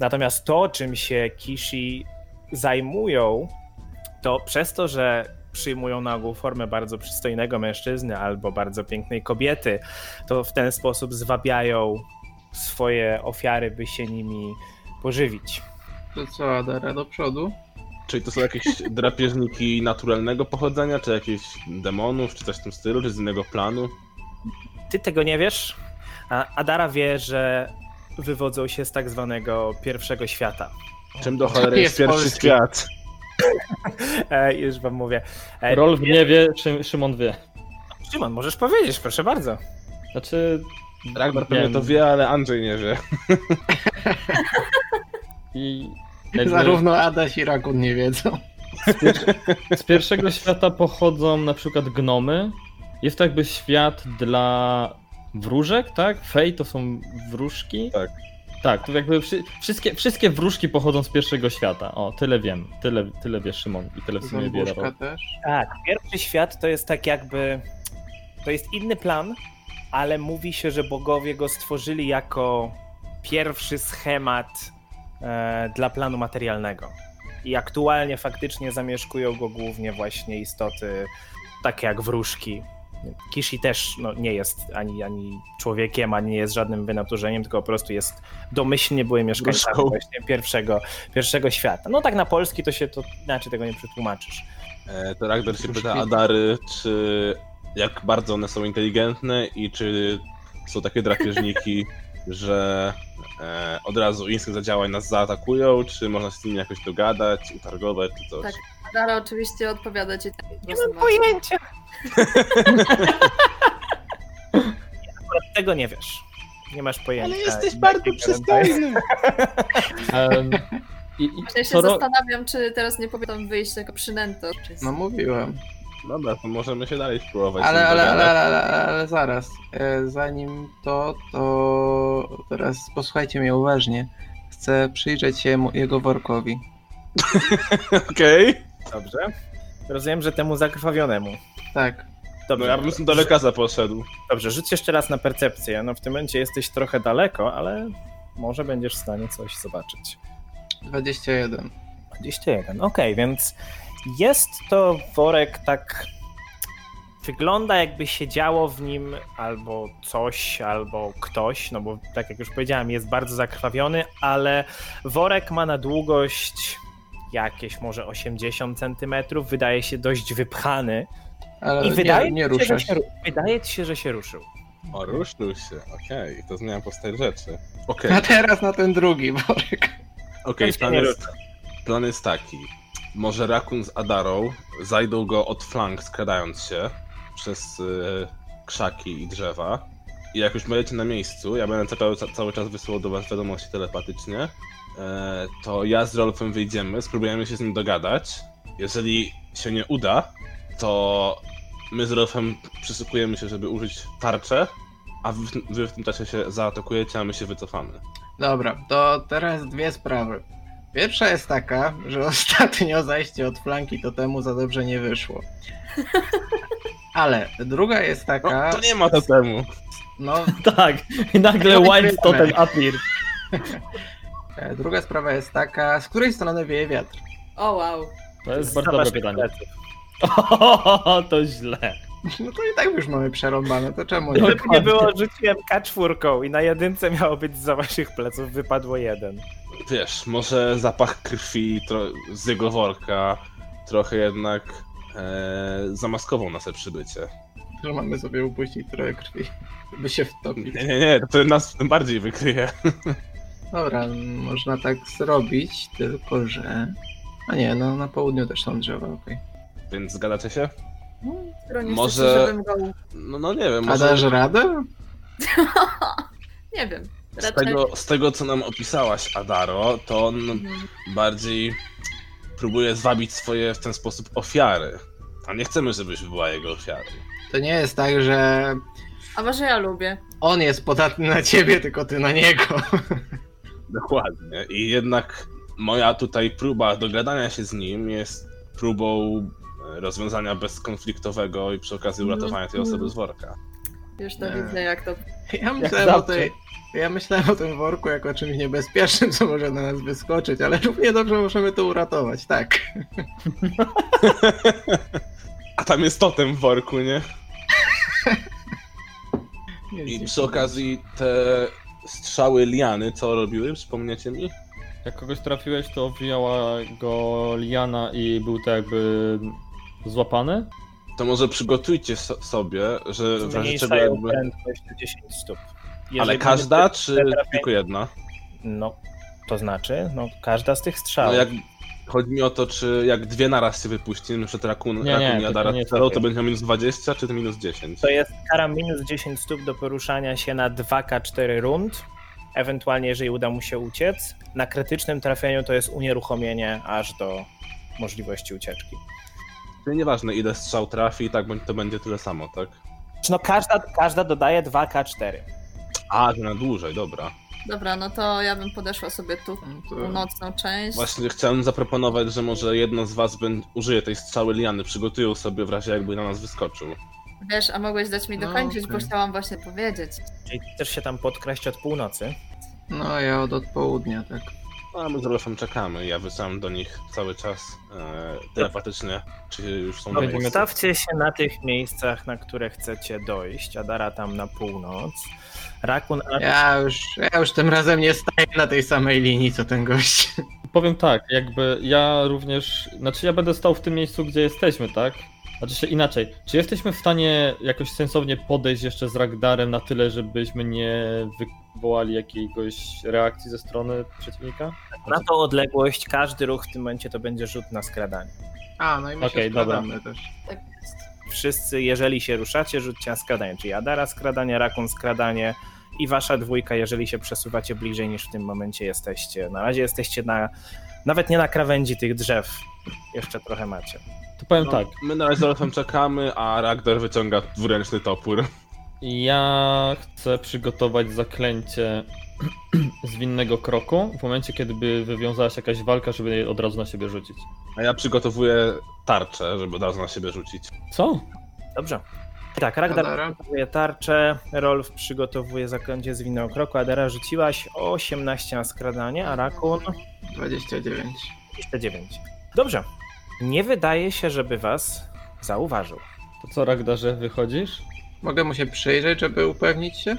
[SPEAKER 1] Natomiast to, czym się Kishi zajmują, to przez to, że przyjmują na ogół formę bardzo przystojnego mężczyzny albo bardzo pięknej kobiety, to w ten sposób zwabiają swoje ofiary, by się nimi pożywić.
[SPEAKER 3] To co, Adara, do przodu?
[SPEAKER 5] Czyli to są jakieś drapieżniki naturalnego pochodzenia, czy jakieś demonów, czy coś w tym stylu, czy z innego planu?
[SPEAKER 1] Ty tego nie wiesz? A Adara wie, że wywodzą się z tak zwanego pierwszego świata.
[SPEAKER 5] Czym do cholery
[SPEAKER 3] jest
[SPEAKER 5] jest pierwszy
[SPEAKER 3] polski.
[SPEAKER 5] świat?
[SPEAKER 1] E, już wam mówię. E,
[SPEAKER 2] Rolf nie wie, Szym- Szymon wie.
[SPEAKER 1] Szymon, możesz powiedzieć, proszę bardzo.
[SPEAKER 2] Znaczy.
[SPEAKER 5] Ragnar
[SPEAKER 2] nie
[SPEAKER 5] pewnie
[SPEAKER 2] wiem.
[SPEAKER 5] to wie, ale Andrzej nie wie.
[SPEAKER 2] I jakby
[SPEAKER 3] Zarówno Adaś i Rakun nie wiedzą.
[SPEAKER 2] z pierwszego świata pochodzą na przykład gnomy. Jest to jakby świat dla wróżek, tak? Fej to są wróżki.
[SPEAKER 5] Tak.
[SPEAKER 2] Tak, to jakby wszy- wszystkie, wszystkie wróżki pochodzą z pierwszego świata. O, tyle wiem. Tyle, tyle wie Szymon i tyle w sumie wie
[SPEAKER 3] Zębuszka
[SPEAKER 2] Rafał.
[SPEAKER 3] też.
[SPEAKER 1] Tak, pierwszy świat to jest tak jakby. To jest inny plan, ale mówi się, że bogowie go stworzyli jako pierwszy schemat e, dla planu materialnego. I aktualnie faktycznie zamieszkują go głównie właśnie istoty takie jak wróżki. Kishi też no, nie jest ani, ani człowiekiem, ani nie jest żadnym wynaturzeniem, tylko po prostu jest domyślnie były mieszkańcami
[SPEAKER 5] Wróżką.
[SPEAKER 1] właśnie pierwszego, pierwszego świata. No tak na polski to się to inaczej tego nie przetłumaczysz.
[SPEAKER 5] E, to Ragnar się
[SPEAKER 3] Już
[SPEAKER 5] pyta
[SPEAKER 3] widzę.
[SPEAKER 5] Adary, czy jak bardzo one są inteligentne i czy są takie drapieżniki, że e, od razu instynkt zadziałań nas zaatakują, czy można się z nimi jakoś dogadać, utargować czy coś.
[SPEAKER 4] Tak. Dara oczywiście odpowiada ci tak.
[SPEAKER 1] Nie mam pojęcia. Akurat tego nie wiesz. Nie masz pojęcia. Nie ci gwarantuję.
[SPEAKER 2] Em, i, i
[SPEAKER 4] Właśnie się
[SPEAKER 2] co ro-
[SPEAKER 4] zastanawiam, czy teraz nie powinnam wyjść jako przynęto. Czy jest-
[SPEAKER 3] No mówiłem.
[SPEAKER 5] Dobra, to możemy się dalej spróbować. z
[SPEAKER 3] Ale,
[SPEAKER 5] nimi
[SPEAKER 3] ale, ale,
[SPEAKER 5] dogadać.
[SPEAKER 3] ale, ale, ale zaraz. E, Zanim to, to teraz posłuchajcie mnie uważnie. Chcę przyjrzeć się mu, jego workowi.
[SPEAKER 5] Okej.
[SPEAKER 1] Dobrze. Rozumiem, że temu zakrwawionemu.
[SPEAKER 3] Tak.
[SPEAKER 5] No
[SPEAKER 1] Dobrze.
[SPEAKER 5] ja bym do lekarza poszedł.
[SPEAKER 1] Dobrze, rzuć jeszcze raz na percepcję. No w tym momencie jesteś trochę daleko, ale może będziesz w stanie coś zobaczyć.
[SPEAKER 3] 21.
[SPEAKER 1] 21. Okej, więc jest to worek tak. Wygląda jakby siedziało w nim albo coś, albo ktoś, no bo tak jak już powiedziałem, jest bardzo zakrwawiony, ale worek ma na długość jakieś może 80 cm, wydaje się dość wypchany
[SPEAKER 3] Ale
[SPEAKER 1] i wydaje,
[SPEAKER 3] nie, nie
[SPEAKER 1] ci się, że
[SPEAKER 3] ruszasz.
[SPEAKER 1] się, ru- wydaje ci się, że się ruszył.
[SPEAKER 5] O, ruszył się, okej, to zmienia postać rzeczy. Okej,
[SPEAKER 3] A teraz na ten drugi worek.
[SPEAKER 5] okej,
[SPEAKER 1] Ten się
[SPEAKER 5] plan,
[SPEAKER 1] nie
[SPEAKER 5] jest, plan jest taki. Może Rakun z Adarą zajdą go od flank, skradając się przez y, krzaki i drzewa. I jak już będziecie na miejscu, ja będę cały, cały czas wysyłał do was wiadomości telepatycznie, e, to ja z Rolfem wyjdziemy, spróbujemy się z nim dogadać. Jeżeli się nie uda, to my z Rolfem przysłukujemy się, żeby użyć tarczę, a wy, wy w tym czasie się zaatakujecie, a my się wycofamy.
[SPEAKER 3] Dobra, to teraz dwie sprawy. Pierwsza jest taka, że ostatnio zajście od flanki to temu za dobrze nie wyszło. Ale druga jest
[SPEAKER 5] No,
[SPEAKER 3] taka.
[SPEAKER 5] to nie ma to temu.
[SPEAKER 3] No,
[SPEAKER 2] Tak, i nagle
[SPEAKER 3] Nagle
[SPEAKER 2] Wild Totem Appear.
[SPEAKER 3] e, druga sprawa jest taka, z której strony wieje wiatr.
[SPEAKER 4] O wow.
[SPEAKER 2] To jest
[SPEAKER 1] Zobacz
[SPEAKER 2] bardzo
[SPEAKER 1] te
[SPEAKER 2] dobre pytanie.
[SPEAKER 1] plecy.
[SPEAKER 2] O, to źle.
[SPEAKER 3] No to i tak już mamy przerąbane, to czemu nie?
[SPEAKER 1] Gdyby nie było, rzuciłem K4 i na jedynce miało być za waszych pleców, wypadło jeden.
[SPEAKER 5] Wiesz, może zapach krwi tro... z jego worka trochę jednak e, zamaskował nasze przybycie.
[SPEAKER 3] Że mamy sobie upuścić trochę krwi, żeby się wtopić.
[SPEAKER 5] Nie, nie, nie, to nas tym bardziej wykryje.
[SPEAKER 3] Dobra, można tak zrobić, tylko że... A nie, no na południu też są drzewa, okej.
[SPEAKER 5] Więc zgadzacie się?
[SPEAKER 4] Którą nie
[SPEAKER 5] Może-
[SPEAKER 4] chcecie, żebym go...
[SPEAKER 5] No, no nie wiem,
[SPEAKER 3] A
[SPEAKER 5] może...
[SPEAKER 3] dasz radę?
[SPEAKER 4] Nie wiem.
[SPEAKER 5] Z tego, z tego, co nam opisałaś, Adaro, to on
[SPEAKER 4] Mhm.
[SPEAKER 5] bardziej próbuje zwabić swoje w ten sposób ofiary. A nie chcemy, żebyś była jego ofiarą.
[SPEAKER 3] To nie jest tak, że
[SPEAKER 4] A może ja lubię.
[SPEAKER 3] on jest podatny na ciebie, tylko ty na niego.
[SPEAKER 5] Dokładnie. I jednak moja tutaj próba dogadania się z nim jest próbą e, rozwiązania bezkonfliktowego i przy okazji
[SPEAKER 2] Mhm.
[SPEAKER 5] uratowania tej osoby z worka.
[SPEAKER 4] Już to
[SPEAKER 3] Nie.
[SPEAKER 4] widzę, jak to.
[SPEAKER 3] Ja myślałem,
[SPEAKER 2] Jak
[SPEAKER 3] o tej, ja myślałem o tym worku jako o czymś niebezpiecznym, co może na nas wyskoczyć, ale równie dobrze możemy to uratować, tak.
[SPEAKER 5] A tam jest totem w worku, nie? I
[SPEAKER 3] Jest-
[SPEAKER 5] przy
[SPEAKER 2] Mhm.
[SPEAKER 5] okazji te strzały liany, co robiły, przypomniecie mi?
[SPEAKER 2] Jak kogoś trafiłeś, to obwijała go liana i był to jakby złapany?
[SPEAKER 5] To może przygotujcie so sobie, że w razie czego
[SPEAKER 1] Zmniejszają
[SPEAKER 5] jakby...
[SPEAKER 1] prędkość do 10 stóp.
[SPEAKER 5] Ale
[SPEAKER 1] Jeżeli
[SPEAKER 5] każda,
[SPEAKER 1] będzie-
[SPEAKER 5] czy
[SPEAKER 1] trafienie-
[SPEAKER 5] tylko jedna?
[SPEAKER 1] No, to znaczy, no każda z tych strzał.
[SPEAKER 2] Tak.
[SPEAKER 5] No jak... Chodzi mi o to, czy jak dwie naraz się wypuści, na przykład rakun,
[SPEAKER 2] Nie,
[SPEAKER 5] rakun
[SPEAKER 2] nie,
[SPEAKER 5] i
[SPEAKER 2] to-
[SPEAKER 5] Adara
[SPEAKER 2] to nie
[SPEAKER 5] to, to,
[SPEAKER 2] trafię.
[SPEAKER 5] będzie minus 20, czy to minus 10?
[SPEAKER 1] To jest kara minus 10 stóp do poruszania się na 2K4 rund. Ewentualnie, jeżeli uda mu się uciec. Na krytycznym trafieniu to jest unieruchomienie aż do możliwości ucieczki.
[SPEAKER 5] Czyli nieważne ile strzał trafi, i tak bądź- to będzie tyle samo, tak?
[SPEAKER 1] Czy no każda, każda dodaje 2K4.
[SPEAKER 5] A, że na dłużej, dobra.
[SPEAKER 4] Dobra, no to ja bym podeszła sobie tu
[SPEAKER 3] No
[SPEAKER 4] w
[SPEAKER 3] to-
[SPEAKER 4] północną część.
[SPEAKER 5] Właśnie chciałem zaproponować, że może jedno z was będ- użyje tej strzały liany, przygotują sobie w razie jakby na nas wyskoczył.
[SPEAKER 4] Wiesz, a mogłeś dać mi
[SPEAKER 3] No,
[SPEAKER 4] dokończyć, bo
[SPEAKER 3] okej.
[SPEAKER 4] chciałam właśnie powiedzieć.
[SPEAKER 1] Czyli chcesz się tam podkraść od północy.
[SPEAKER 3] No ja od, od południa, tak.
[SPEAKER 5] No, A my z Rolfem czekamy, ja wysyłam do nich cały czas e, telepatycznie, czy już są na
[SPEAKER 2] Będziemy-
[SPEAKER 5] miejscu.
[SPEAKER 1] Stawcie się na tych miejscach, na które chcecie dojść. Adara tam na północ. Rakun a
[SPEAKER 3] Ja już, ja już tym razem nie staję na tej samej linii, co ten gość.
[SPEAKER 2] Powiem tak, jakby ja również. Znaczy, ja będę stał w tym miejscu, gdzie jesteśmy, tak? Znaczy się inaczej. Czy jesteśmy w stanie jakoś sensownie podejść jeszcze z Ragdarem na tyle, żebyśmy nie wywołali jakiegoś reakcji ze strony przeciwnika?
[SPEAKER 1] na tą odległość każdy ruch w tym momencie to będzie rzut na skradanie.
[SPEAKER 3] A, no i my
[SPEAKER 2] Okej,
[SPEAKER 3] się
[SPEAKER 2] dobra.
[SPEAKER 3] składamy też.
[SPEAKER 4] Tak jest.
[SPEAKER 1] wszyscy, jeżeli się ruszacie, rzućcie na skradanie, czyli Adara skradanie, Rakun skradanie i wasza dwójka, jeżeli się przesuwacie bliżej niż w tym momencie jesteście. Na razie jesteście na, nawet nie na krawędzi tych drzew, jeszcze trochę macie.
[SPEAKER 2] To powiem
[SPEAKER 5] No,
[SPEAKER 2] tak.
[SPEAKER 5] My na razie z Rolfem czekamy, a Ragdar wyciąga dwuręczny topór.
[SPEAKER 2] Ja chcę przygotować zaklęcie zwinnego kroku w momencie, kiedy by wywiązała się jakaś walka, żeby je od razu na siebie rzucić.
[SPEAKER 5] A ja przygotowuję tarczę, żeby od razu na siebie rzucić.
[SPEAKER 2] Co?
[SPEAKER 1] Dobrze. Tak, Ragdar
[SPEAKER 3] Adara?
[SPEAKER 1] przygotowuje tarczę, Rolf przygotowuje zaklęcie z winnego kroku, Adara rzuciłaś 18 na skradanie, a Rakun
[SPEAKER 3] 29.
[SPEAKER 1] 29. Dobrze. Nie wydaje się, żeby was zauważył.
[SPEAKER 2] To co, Ragdarze, wychodzisz?
[SPEAKER 3] Mogę mu się przyjrzeć, żeby upewnić się,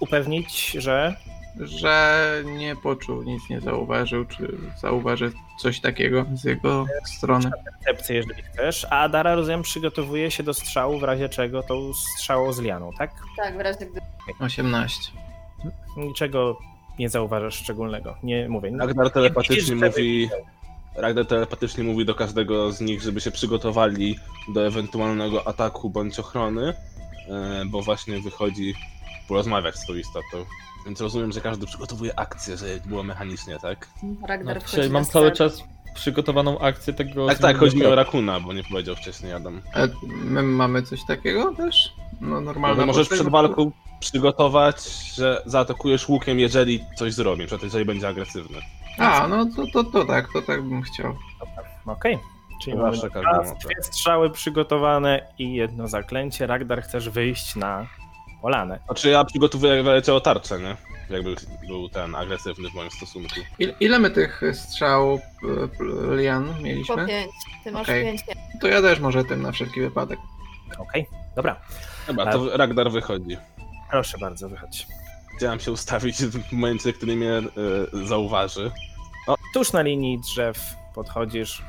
[SPEAKER 1] Upewnić, że
[SPEAKER 3] że nie poczuł, nic nie zauważył, czy zauważy coś takiego z jego strony.
[SPEAKER 1] percepcję, jeżeli chcesz, a Adara, rozumiem, przygotowuje się do strzału, w razie czego tą strzałą z lianą, tak?
[SPEAKER 4] Tak, w razie gdy.
[SPEAKER 3] 18.
[SPEAKER 1] Niczego nie zauważasz szczególnego, nie mówię. No,
[SPEAKER 5] Ragnar telepatycznie
[SPEAKER 1] Nie widzisz, żeby
[SPEAKER 5] mówi. Ragnar telepatycznie mówi do każdego z nich, żeby się przygotowali do ewentualnego ataku bądź ochrony, e, bo właśnie wychodzi porozmawiać z tą istotą. Więc rozumiem, że każdy przygotowuje akcję, że było mechanicznie, tak?
[SPEAKER 4] Ragnar
[SPEAKER 2] No,
[SPEAKER 4] wchodzi
[SPEAKER 2] dzisiaj
[SPEAKER 4] na
[SPEAKER 2] mam cały
[SPEAKER 4] scenę.
[SPEAKER 2] czas przygotowaną akcję tego.
[SPEAKER 5] Tak, tak,
[SPEAKER 2] zwinnego
[SPEAKER 5] chodzi mi o
[SPEAKER 2] kroku.
[SPEAKER 5] Rakuna, bo nie powiedział wcześniej Adam.
[SPEAKER 3] A my mamy coś takiego też? No normalna
[SPEAKER 5] Ale możesz
[SPEAKER 3] postać,
[SPEAKER 5] przed
[SPEAKER 3] bo-
[SPEAKER 5] walką przygotować, że zaatakujesz łukiem, jeżeli coś zrobi, na przykład jeżeli będzie agresywny.
[SPEAKER 3] A, no to, to, to tak, to tak bym chciał.
[SPEAKER 1] Okej. Czyli mamy
[SPEAKER 5] Zawsze każdy
[SPEAKER 1] dwa-
[SPEAKER 5] ma
[SPEAKER 1] dwie strzały przygotowane i jedno zaklęcie. Ragdar, chcesz wyjść na polanę.
[SPEAKER 5] Znaczy ja przygotowuję jak wyleciało tarczę, nie? Jakby był ten agresywny w moim stosunku.
[SPEAKER 3] Il, ile my tych strzał p- p- lian
[SPEAKER 4] Po
[SPEAKER 3] mieliśmy?
[SPEAKER 4] pięć. Ty masz
[SPEAKER 3] Okej.
[SPEAKER 4] pięć. nie?
[SPEAKER 3] To ja też może tym na wszelki wypadek.
[SPEAKER 1] Okej, dobra.
[SPEAKER 5] Dobra, to Ragnar wychodzi.
[SPEAKER 1] Proszę bardzo, wychodź.
[SPEAKER 5] Chciałem się ustawić w momencie, który mnie e, zauważy.
[SPEAKER 1] Tuż na linii drzew podchodzisz,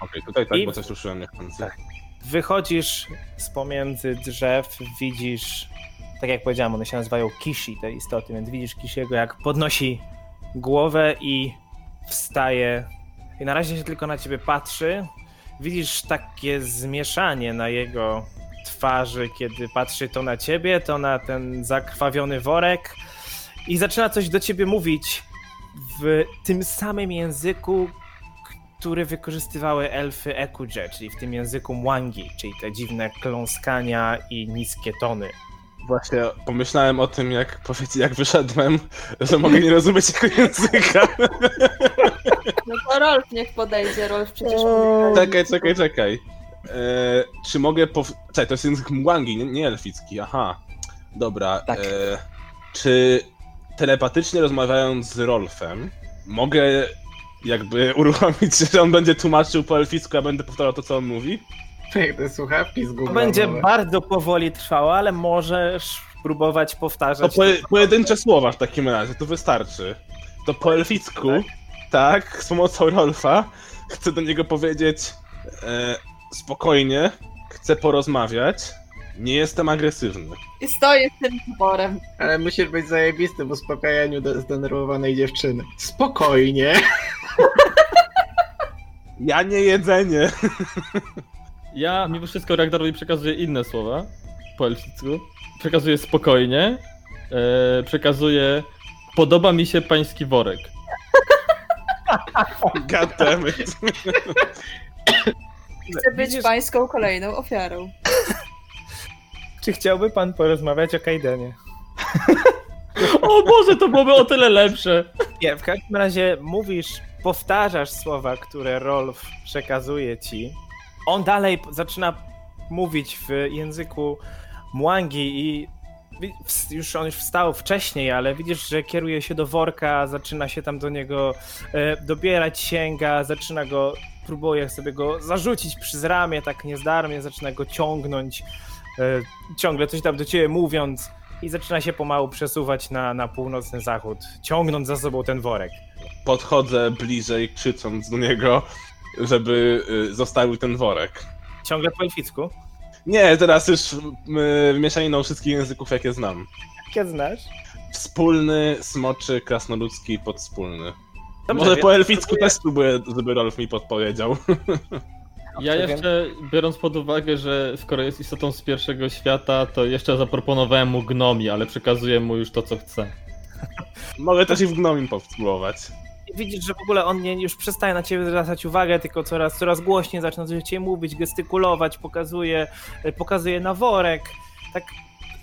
[SPEAKER 5] Okej, tutaj tak,
[SPEAKER 1] I-
[SPEAKER 5] bo coś ruszyłem niechcący.
[SPEAKER 1] Tak. Wychodzisz z pomiędzy drzew, widzisz, tak jak powiedziałem, one się nazywają Kishi, te istoty, więc widzisz Kishiego, jak podnosi głowę i wstaje. I na razie się tylko na ciebie patrzy. Widzisz takie zmieszanie na jego twarzy, kiedy patrzy to na ciebie, to na ten zakrwawiony worek i zaczyna coś do ciebie mówić w tym samym języku, który wykorzystywały elfy Ekudże, czyli w tym języku Mwangi, czyli te dziwne kląskania i niskie tony.
[SPEAKER 5] Właśnie pomyślałem o tym, jak powiedz, jak wyszedłem, że mogę nie rozumieć jego języka.
[SPEAKER 7] No to Rolf niech podejdzie, Rolf
[SPEAKER 2] Eee.
[SPEAKER 7] przecież...
[SPEAKER 5] Czekaj, czekaj, czekaj. E, czy mogę pow... Czekaj, to jest język mwangi, nie, nie elficki, aha. Dobra,
[SPEAKER 8] Tak.
[SPEAKER 5] e, czy telepatycznie rozmawiając z Rolfem, mogę jakby uruchomić, że on będzie tłumaczył po elficku, a będę powtarzał to, co on mówi?
[SPEAKER 3] Jak te słuchawki z no.
[SPEAKER 1] To
[SPEAKER 3] Google.
[SPEAKER 1] będzie
[SPEAKER 3] były.
[SPEAKER 1] bardzo powoli trwało, ale możesz próbować
[SPEAKER 5] To tak.
[SPEAKER 1] powtarzać.
[SPEAKER 5] po, pojedyncze słowa w takim razie, to wystarczy. To po elficku, tak, z pomocą Rolfa, chcę do niego powiedzieć e, spokojnie, chcę porozmawiać, nie jestem agresywny.
[SPEAKER 4] I stoję z tym wyborem.
[SPEAKER 3] Ale musisz być zajebisty w uspokajaniu de- zdenerwowanej dziewczyny. Spokojnie.
[SPEAKER 5] Ja nie jedzenie.
[SPEAKER 2] Ja mimo wszystko Ragnarowi przekazuję inne słowa po elficku. Przekazuję spokojnie. E, przekazuję podoba mi się pański worek.
[SPEAKER 5] God damn it.
[SPEAKER 4] Chcę być pańską kolejną ofiarą.
[SPEAKER 1] Czy chciałby pan porozmawiać o Kaidenie?
[SPEAKER 2] O Boże, to byłoby o tyle lepsze.
[SPEAKER 1] Nie, w każdym razie mówisz, powtarzasz słowa, które Rolf przekazuje ci. On dalej p- zaczyna mówić w języku Mwangi i wi- ws- już on już wstał wcześniej, ale widzisz, że kieruje się do worka, zaczyna się tam do niego e, dobierać, sięga, zaczyna go, próbuje sobie go zarzucić przez ramię, tak niezdarnie, zaczyna go ciągnąć, e, ciągle coś tam do ciebie mówiąc i zaczyna się pomału przesuwać na, na północny zachód, ciągnąc za sobą ten worek.
[SPEAKER 5] Podchodzę bliżej, krzycząc do niego, żeby y, zostawił ten worek.
[SPEAKER 1] Ciągle po elficku.
[SPEAKER 5] Nie, teraz już y, mieszaniną wszystkich języków, jakie znam.
[SPEAKER 1] Jakie znasz?
[SPEAKER 5] Wspólny, smoczy, krasnoludzki, podspólny.
[SPEAKER 1] Dobrze,
[SPEAKER 5] Może
[SPEAKER 1] więc
[SPEAKER 5] po elficku
[SPEAKER 1] spróbuję-
[SPEAKER 5] też spróbuję, żeby Rolf mi podpowiedział.
[SPEAKER 2] Ja jeszcze, biorąc pod uwagę, że skoro jest istotą z pierwszego świata, to jeszcze zaproponowałem mu gnomi, ale przekazuję mu już to, co chce.
[SPEAKER 5] Mogę też i w gnomim powtórzyć.
[SPEAKER 1] Widzisz, że w ogóle on nie, już przestaje na ciebie zwracać uwagę, tylko coraz, coraz głośniej zaczyna do ciebie mówić, gestykulować, pokazuje, e, pokazuje na worek. Tak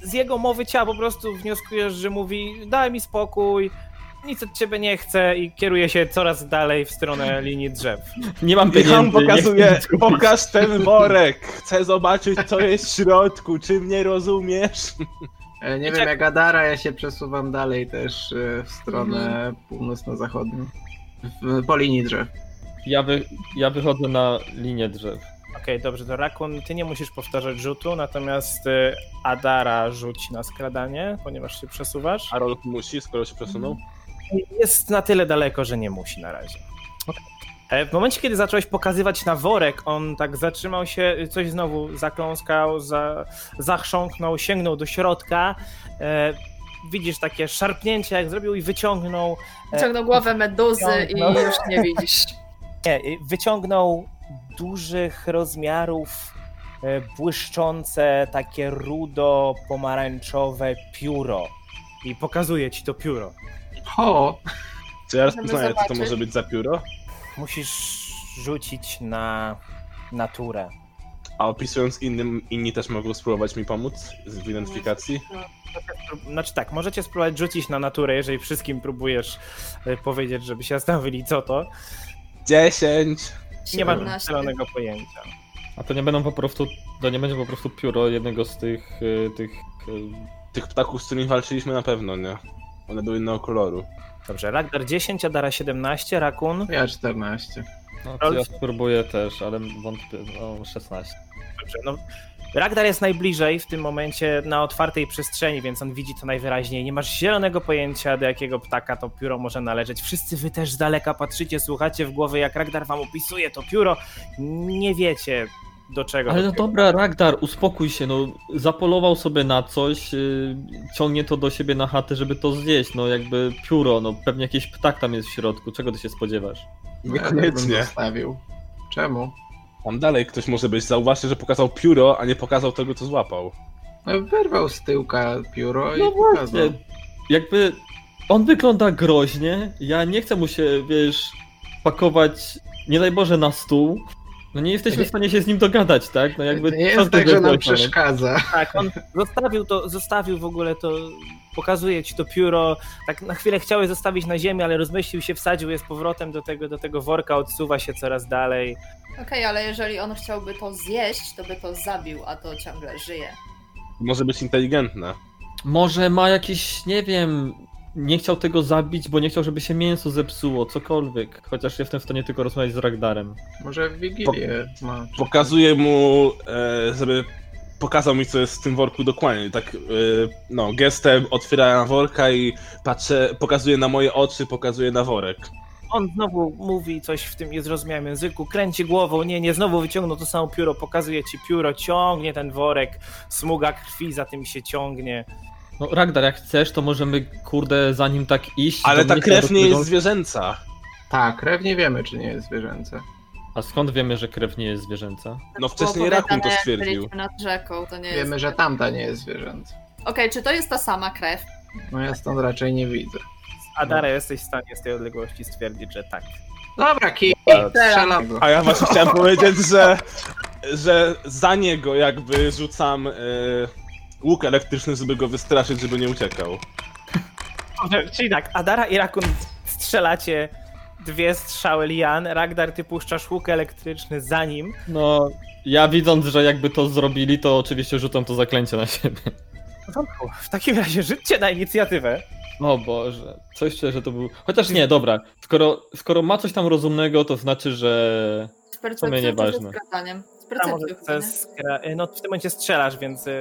[SPEAKER 1] z jego mowy ciała po prostu wnioskujesz, że mówi daj mi spokój, nic od ciebie nie chcę i kieruje się coraz dalej w stronę linii drzew.
[SPEAKER 2] Nie mam
[SPEAKER 5] I
[SPEAKER 2] pieniędzy.
[SPEAKER 5] on
[SPEAKER 2] nie
[SPEAKER 5] pokazuje,
[SPEAKER 2] chcę nic kupić.
[SPEAKER 5] pokaż ten worek, chcę zobaczyć co jest w środku, czy mnie rozumiesz?
[SPEAKER 3] E, Nie wiem, jak Adara, ja się przesuwam dalej też e, w stronę
[SPEAKER 2] Mhm.
[SPEAKER 3] północno-zachodnią. W, po linii drzew.
[SPEAKER 2] Ja, wy, ja wychodzę na linię drzew.
[SPEAKER 1] Okej, dobrze, to Rakun, ty nie musisz powtarzać rzutu, natomiast y, Adara rzuci na skradanie, ponieważ się przesuwasz.
[SPEAKER 5] A Rolf musi, skoro się przesunął?
[SPEAKER 1] jest na tyle daleko, że nie musi na razie. E, W momencie, kiedy zacząłeś pokazywać na worek, on tak zatrzymał się, coś znowu zakląskał, za, zachrząknął, sięgnął do środka. E, widzisz takie szarpnięcie, jak zrobił i wyciągnął,
[SPEAKER 4] Ciągnął głowę meduzy i
[SPEAKER 1] Ciągnął.
[SPEAKER 4] już nie widzisz.
[SPEAKER 1] nie, y, wyciągnął dużych rozmiarów e, błyszczące takie rudo-pomarańczowe pióro. I pokazuje ci to pióro.
[SPEAKER 3] Ho!
[SPEAKER 5] Czy ja
[SPEAKER 4] Możemy
[SPEAKER 5] rozpoznaję, co to
[SPEAKER 4] zobaczyć.
[SPEAKER 5] może być za pióro?
[SPEAKER 1] Musisz rzucić na naturę.
[SPEAKER 5] A opisując innym, inni też mogą spróbować mi pomóc z- w identyfikacji?
[SPEAKER 1] Znaczy tak, możecie spróbować rzucić na naturę, jeżeli wszystkim próbujesz e, powiedzieć, żeby się zastanowili co to.
[SPEAKER 5] 10!
[SPEAKER 1] Nie masz
[SPEAKER 4] 17.
[SPEAKER 1] zielonego pojęcia.
[SPEAKER 2] A to nie będą po prostu, to nie będzie po prostu pióro jednego z tych, y, tych y,
[SPEAKER 5] Tych ptaków, z którymi walczyliśmy na pewno, nie? One były innego koloru.
[SPEAKER 1] Dobrze, Ragdar 10, Adara 17, Rakun.
[SPEAKER 3] Ja 14.
[SPEAKER 2] No, to ja spróbuję też, ale wątpię. No, 16.
[SPEAKER 1] Dobrze, no. Ragdar jest najbliżej w tym momencie na otwartej przestrzeni, więc on widzi to najwyraźniej. Nie masz zielonego pojęcia, do jakiego ptaka to pióro może należeć. Wszyscy wy też z daleka patrzycie, słuchacie w głowie, jak Ragdar wam opisuje to pióro. Nie wiecie, do czego
[SPEAKER 2] Ale
[SPEAKER 1] to
[SPEAKER 2] no
[SPEAKER 1] pióro.
[SPEAKER 2] dobra, Ragdar, uspokój się, no zapolował sobie na coś, y, ciągnie to do siebie na chatę, żeby to zjeść, no jakby pióro, no pewnie jakiś ptak tam jest w środku, czego ty się spodziewasz?
[SPEAKER 3] No,
[SPEAKER 5] Niekoniecznie.
[SPEAKER 3] tak zostawił. Czemu?
[SPEAKER 5] Tam dalej ktoś może być. Zauważcie, że pokazał pióro, a nie pokazał tego, co złapał.
[SPEAKER 3] No, wyrwał z tyłka pióro
[SPEAKER 2] No
[SPEAKER 3] i pokazał.
[SPEAKER 2] Jakby On wygląda groźnie. Ja nie chcę mu się, wiesz, pakować, nie daj Boże, na stół. No nie jesteśmy w stanie się z nim dogadać, tak? No jakby
[SPEAKER 3] nie
[SPEAKER 2] co z
[SPEAKER 3] jest tak,
[SPEAKER 2] tego
[SPEAKER 3] że nam
[SPEAKER 2] jest orszalek?
[SPEAKER 3] przeszkadza.
[SPEAKER 1] Tak, on zostawił to, zostawił w ogóle to, pokazuje ci to pióro, tak na chwilę chciałeś zostawić na ziemi, ale rozmyślił się, wsadził je z powrotem do tego, do tego worka, odsuwa się coraz dalej.
[SPEAKER 4] Okej, ale jeżeli on chciałby to zjeść, to by to zabił, a to ciągle żyje.
[SPEAKER 5] Może być inteligentne.
[SPEAKER 2] Może ma jakiś, nie wiem, nie chciał tego zabić, bo nie chciał, żeby się mięso zepsuło, cokolwiek. Chociaż jestem w stanie tylko rozmawiać z Ragdarem.
[SPEAKER 3] Może w Wigilię ma.
[SPEAKER 5] Pokazuję mu, e, żeby pokazał mi, co jest w tym worku dokładnie. Tak, e, no, gestem otwiera worka i patrzę, pokazuje na moje oczy, pokazuje na worek.
[SPEAKER 1] On znowu mówi coś w tym niezrozumiałym języku, kręci głową, nie, nie, znowu wyciągnął to samo pióro, pokazuje ci pióro, ciągnie ten worek, smuga krwi za tym się ciągnie.
[SPEAKER 2] No Ragdar, jak chcesz, to możemy, kurde, za nim tak iść.
[SPEAKER 5] Ale
[SPEAKER 2] do
[SPEAKER 5] ta
[SPEAKER 2] miejsca, do
[SPEAKER 5] krew nie
[SPEAKER 2] którego-
[SPEAKER 5] jest zwierzęca.
[SPEAKER 3] Tak, krew nie wiemy, czy nie jest zwierzęce.
[SPEAKER 2] A skąd wiemy, że krew nie jest zwierzęca?
[SPEAKER 5] No
[SPEAKER 4] Było
[SPEAKER 5] wcześniej Rakun to
[SPEAKER 4] powiedziane, jak
[SPEAKER 5] stwierdził.
[SPEAKER 4] byliśmy nad rzeką, to nie
[SPEAKER 3] Wiemy,
[SPEAKER 4] jest...
[SPEAKER 3] że tamta nie jest zwierzęca.
[SPEAKER 4] Okej, czy to jest ta sama krew?
[SPEAKER 3] No ja stąd raczej nie widzę.
[SPEAKER 1] Adara, jesteś w stanie z tej odległości stwierdzić, że tak.
[SPEAKER 3] Dobra, kij, strzelam go.
[SPEAKER 5] A ja właśnie chciałem powiedzieć, że, że za niego jakby rzucam e, łuk elektryczny, żeby go wystraszyć, żeby nie uciekał.
[SPEAKER 1] Dobrze, Czyli tak, Adara i Rakun strzelacie dwie strzały lian, Ragdar ty puszczasz łuk elektryczny za nim.
[SPEAKER 2] No, ja widząc, że jakby to zrobili, to oczywiście rzucam to zaklęcie na siebie.
[SPEAKER 1] W porządku, W takim razie rzućcie na inicjatywę.
[SPEAKER 2] O Boże, coś czuję, że to był... Chociaż nie, dobra, skoro, skoro ma coś tam rozumnego, to znaczy, że...
[SPEAKER 4] Z
[SPEAKER 2] To mnie
[SPEAKER 4] percepcją czy
[SPEAKER 2] nieważne.
[SPEAKER 4] z zgadaniem? Z
[SPEAKER 1] Tam może
[SPEAKER 4] percepcją chyba, nie?
[SPEAKER 1] chcesz skra- no, w tym momencie strzelasz, więc y,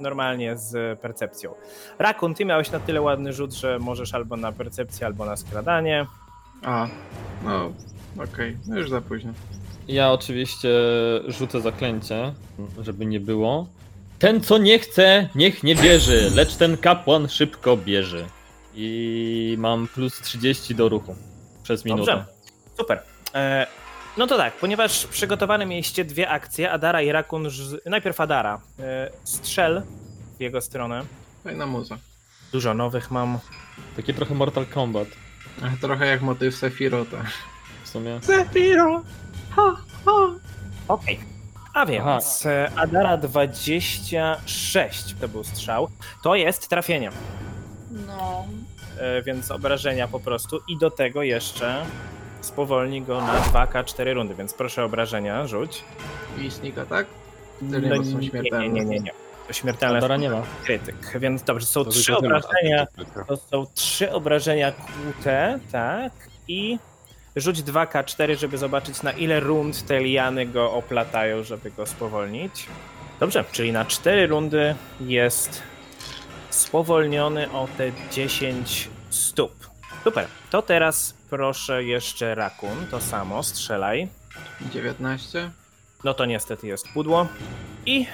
[SPEAKER 1] normalnie z e, percepcją. Rakun, ty miałeś na tyle ładny rzut, że możesz albo na percepcję, albo na skradanie.
[SPEAKER 3] A, no, okej, no już za późno.
[SPEAKER 2] Ja oczywiście rzucę zaklęcie, żeby nie było. Ten, co nie chce, niech nie bierze, lecz ten kapłan szybko bierze. I mam plus 30 do ruchu przez minutę.
[SPEAKER 1] Dobrze, super. E, no to tak, ponieważ przygotowane mieliście dwie akcje, Adara i Rakun, ż- najpierw Adara, e, strzel w jego stronę.
[SPEAKER 3] Fajna No muza.
[SPEAKER 1] Dużo nowych mam.
[SPEAKER 2] Takie trochę Mortal Kombat
[SPEAKER 3] Ach, Trochę jak motyw Sefirota.
[SPEAKER 2] w sumie.
[SPEAKER 1] Okej. A więc e, Adara 26 to był strzał. To jest trafienie,
[SPEAKER 4] No,
[SPEAKER 1] e, więc obrażenia po prostu i do tego jeszcze spowolni go na 2K4 rundy, więc proszę obrażenia, rzuć.
[SPEAKER 3] I snika, tak?
[SPEAKER 1] No,
[SPEAKER 3] Tyle nie, bo są
[SPEAKER 1] nie,
[SPEAKER 3] śmiertelne.
[SPEAKER 1] nie, nie, nie, nie. To śmiertelne
[SPEAKER 2] Adara nie ma.
[SPEAKER 1] krytyk, więc dobrze, są
[SPEAKER 5] To
[SPEAKER 1] trzy
[SPEAKER 5] tylko temat
[SPEAKER 1] obrażenia,
[SPEAKER 5] artystyczny.
[SPEAKER 1] to są trzy obrażenia kłute, tak, i rzuć 2K4, żeby zobaczyć na ile rund te liany go oplatają, żeby go spowolnić. Dobrze, czyli na 4 rundy jest spowolniony o te 10 stóp. Super, to teraz proszę jeszcze Rakun, to samo, strzelaj.
[SPEAKER 3] 19.
[SPEAKER 1] No to niestety jest pudło. I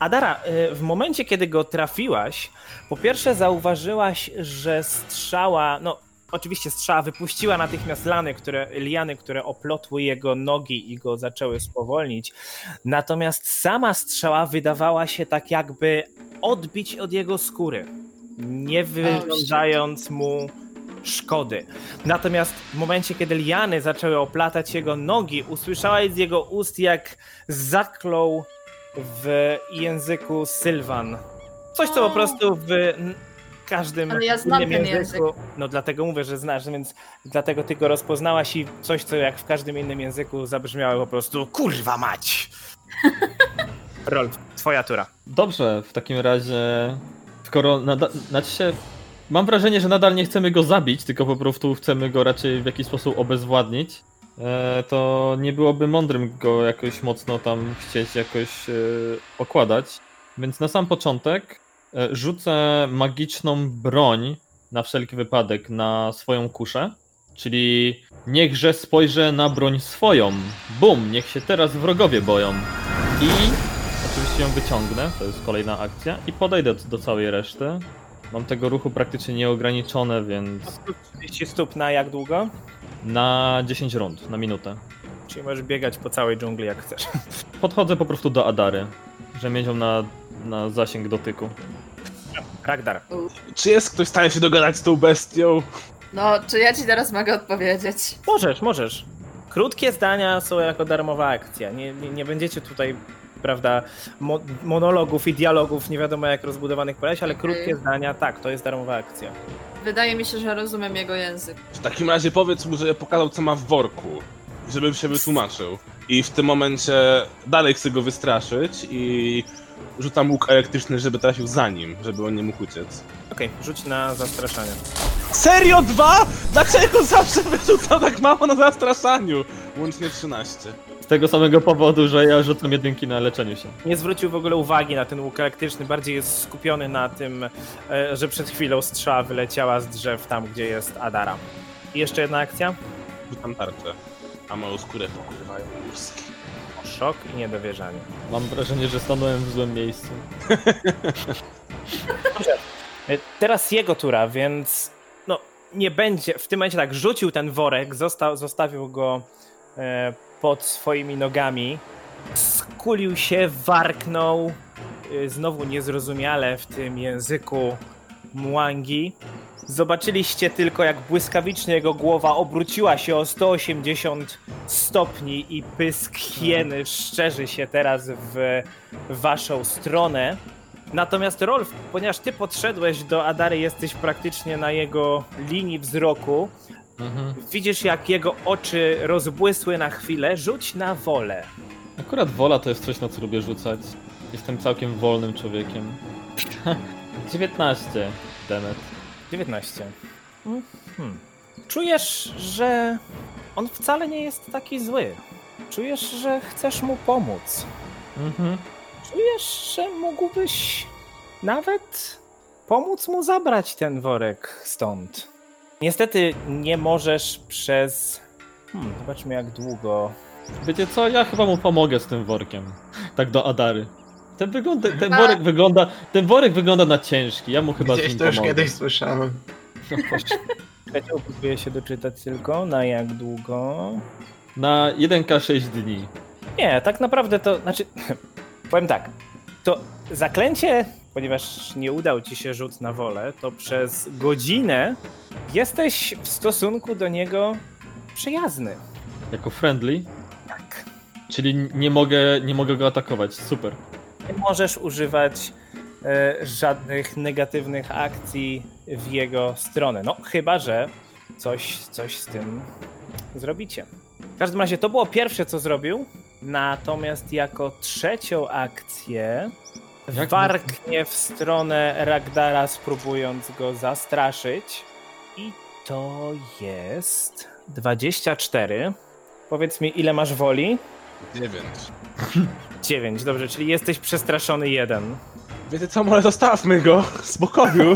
[SPEAKER 1] Adara, y, w momencie kiedy go trafiłaś, po pierwsze zauważyłaś, że strzała, no oczywiście strzała wypuściła natychmiast lany, które, liany, które oplotły jego nogi i go zaczęły spowolnić. Natomiast sama strzała wydawała się tak jakby odbić od jego skóry, nie wyrządzając mu szkody. Natomiast w momencie, kiedy liany zaczęły oplatać jego nogi, usłyszałaś z jego ust, jak zaklął w języku Sylwan. Coś, co po prostu w n- każdym
[SPEAKER 4] Ale ja znam
[SPEAKER 1] innym
[SPEAKER 4] ten
[SPEAKER 1] języku. No dlatego mówię, że znasz, więc dlatego ty go rozpoznałaś i coś, co jak w każdym innym języku zabrzmiało po prostu kurwa mać. Rolf, twoja tura.
[SPEAKER 2] Dobrze, w takim razie, skoro nada- znaczy się, mam wrażenie, że nadal nie chcemy go zabić, tylko po prostu chcemy go raczej w jakiś sposób obezwładnić, e, to nie byłoby mądrym go jakoś mocno tam chcieć jakoś e, okładać. Więc na sam początek e, rzucę magiczną broń na wszelki wypadek na swoją kuszę, czyli niechże spojrzę na broń swoją. Bum, niech się teraz wrogowie boją. I Oczywiście ją wyciągnę, to jest kolejna akcja i podejdę do całej reszty. Mam tego ruchu praktycznie nieograniczone, więc
[SPEAKER 1] 30 stóp na jak długo?
[SPEAKER 2] na 10 rund, na minutę.
[SPEAKER 1] Czyli możesz biegać po całej dżungli jak chcesz.
[SPEAKER 2] Podchodzę po prostu do Adary, że mieć ją na, na zasięg dotyku.
[SPEAKER 1] Ragdar,
[SPEAKER 5] Czy jest ktoś w stanie się dogadać z tą bestią?
[SPEAKER 4] No, czy ja ci teraz mogę odpowiedzieć?
[SPEAKER 1] możesz, możesz. Krótkie zdania są jako darmowa akcja. Nie, nie, nie będziecie tutaj, prawda, mo- monologów i dialogów nie wiadomo jak rozbudowanych pojawiać, ale krótkie
[SPEAKER 4] Okej.
[SPEAKER 1] zdania, tak, to jest darmowa akcja.
[SPEAKER 4] Wydaje mi się, że rozumiem jego język.
[SPEAKER 5] W takim razie powiedz mu, żeby pokazał, co ma w worku, żebym się wytłumaczył. I w tym momencie dalej chcę go wystraszyć i rzucam łuk elektryczny, żeby trafił za nim, żeby on nie mógł uciec.
[SPEAKER 1] Okej, rzuć na zastraszanie.
[SPEAKER 5] Serio dwa? Dlaczego zawsze wyrzucam tak mało na zastraszaniu? Łącznie 13.
[SPEAKER 2] Z tego samego powodu, że ja rzucam jedynki na leczeniu się.
[SPEAKER 1] Nie zwrócił w ogóle uwagi na ten łuk elektryczny, bardziej jest skupiony na tym, e, że przed chwilą strzała wyleciała z drzew tam, gdzie jest Adara. I jeszcze jedna akcja.
[SPEAKER 5] Rzucam tarczę, a moją skórę pokrywają łuski.
[SPEAKER 1] Szok i niedowierzanie.
[SPEAKER 2] Mam wrażenie, że stanąłem w złym miejscu.
[SPEAKER 1] E, Teraz jego tura, więc no nie będzie, w tym momencie tak, rzucił ten worek, został, zostawił go e, pod swoimi nogami, skulił się, warknął, e, znowu niezrozumiale w tym języku mwangi. Zobaczyliście tylko, jak błyskawicznie jego głowa obróciła się o 180 stopni i pysk hieny szczerzy się teraz w waszą stronę. Natomiast Rolf, ponieważ ty podszedłeś do Adary, jesteś praktycznie na jego linii wzroku.
[SPEAKER 2] Mhm.
[SPEAKER 1] Widzisz, jak jego oczy rozbłysły na chwilę. Rzuć na wolę.
[SPEAKER 2] Akurat wola to jest coś, na co lubię rzucać. Jestem całkiem wolnym człowiekiem. 19, demet.
[SPEAKER 1] 19. Mhm. Czujesz, że on wcale nie jest taki zły. Czujesz, że chcesz mu pomóc.
[SPEAKER 2] Mhm.
[SPEAKER 1] Czujesz, że mógłbyś nawet pomóc mu zabrać ten worek stąd. Niestety nie możesz przez. Hmm, zobaczmy jak długo.
[SPEAKER 2] Wiecie co, ja chyba mu pomogę z tym workiem. Tak do Adary. Ten, wygląda, ten
[SPEAKER 4] A.
[SPEAKER 2] worek wygląda. Ten worek wygląda na ciężki. Ja mu chyba z
[SPEAKER 3] Gdzieś
[SPEAKER 2] nim
[SPEAKER 3] to już
[SPEAKER 2] pomogę.
[SPEAKER 3] kiedyś słyszałem.
[SPEAKER 1] Słuchajcie, próbuję się doczytać tylko na jak długo.
[SPEAKER 2] Na 1K6 dni.
[SPEAKER 1] Nie, tak naprawdę to. Znaczy. Powiem tak. To zaklęcie, ponieważ nie udał ci się rzut na wolę, to przez godzinę jesteś w stosunku do niego przyjazny.
[SPEAKER 2] Jako friendly.
[SPEAKER 1] Tak.
[SPEAKER 2] Czyli nie mogę, nie mogę go atakować. Super.
[SPEAKER 1] Nie możesz używać e, żadnych negatywnych akcji w jego stronę. No, chyba że coś, coś z tym zrobicie. W każdym razie to było pierwsze, co zrobił. Natomiast jako trzecią akcję
[SPEAKER 2] Jak-
[SPEAKER 1] warknie w stronę Ragdara, spróbując go zastraszyć. I to jest 24. Powiedz mi, ile masz woli?
[SPEAKER 5] 9.
[SPEAKER 1] 9, dobrze, czyli jesteś przestraszony jeden.
[SPEAKER 5] Wiecie co, może zostawmy go w spokoju.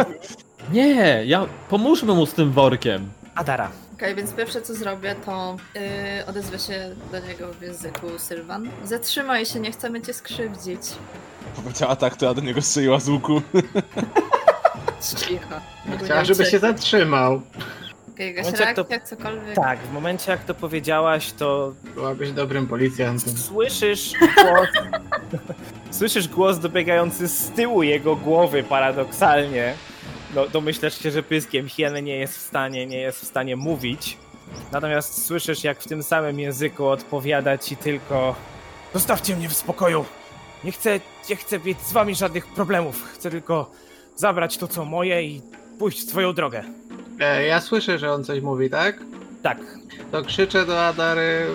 [SPEAKER 2] Nie, ja. Pomóżmy mu z tym workiem.
[SPEAKER 1] Adara.
[SPEAKER 4] Okej, więc pierwsze co zrobię, to yy, odezwę się do niego w języku Sylwan. Zatrzymaj się, nie chcemy cię skrzywdzić.
[SPEAKER 5] Powiedziała tak, to ja do niego strzeliła z łuku.
[SPEAKER 4] Cicho.
[SPEAKER 3] Chciałem, żeby się zatrzymał.
[SPEAKER 4] Jakaś
[SPEAKER 1] Momencie, jak to-
[SPEAKER 4] reakcja, cokolwiek.
[SPEAKER 1] Tak, w momencie jak to powiedziałaś, to
[SPEAKER 3] Byłabyś dobrym policjantem.
[SPEAKER 1] słyszysz głos. słyszysz głos dobiegający z tyłu jego głowy paradoksalnie. No, domyślasz się, że pyskiem hieny nie jest w stanie, nie jest w stanie mówić. Natomiast słyszysz, jak w tym samym języku odpowiada ci tylko Zostawcie mnie w spokoju! Nie chcę, nie chcę mieć z wami żadnych problemów. Chcę tylko zabrać to, co moje i pójść swoją drogę.
[SPEAKER 3] E, ja słyszę, że on coś mówi, tak?
[SPEAKER 1] Tak,
[SPEAKER 3] To krzyczę do Adary.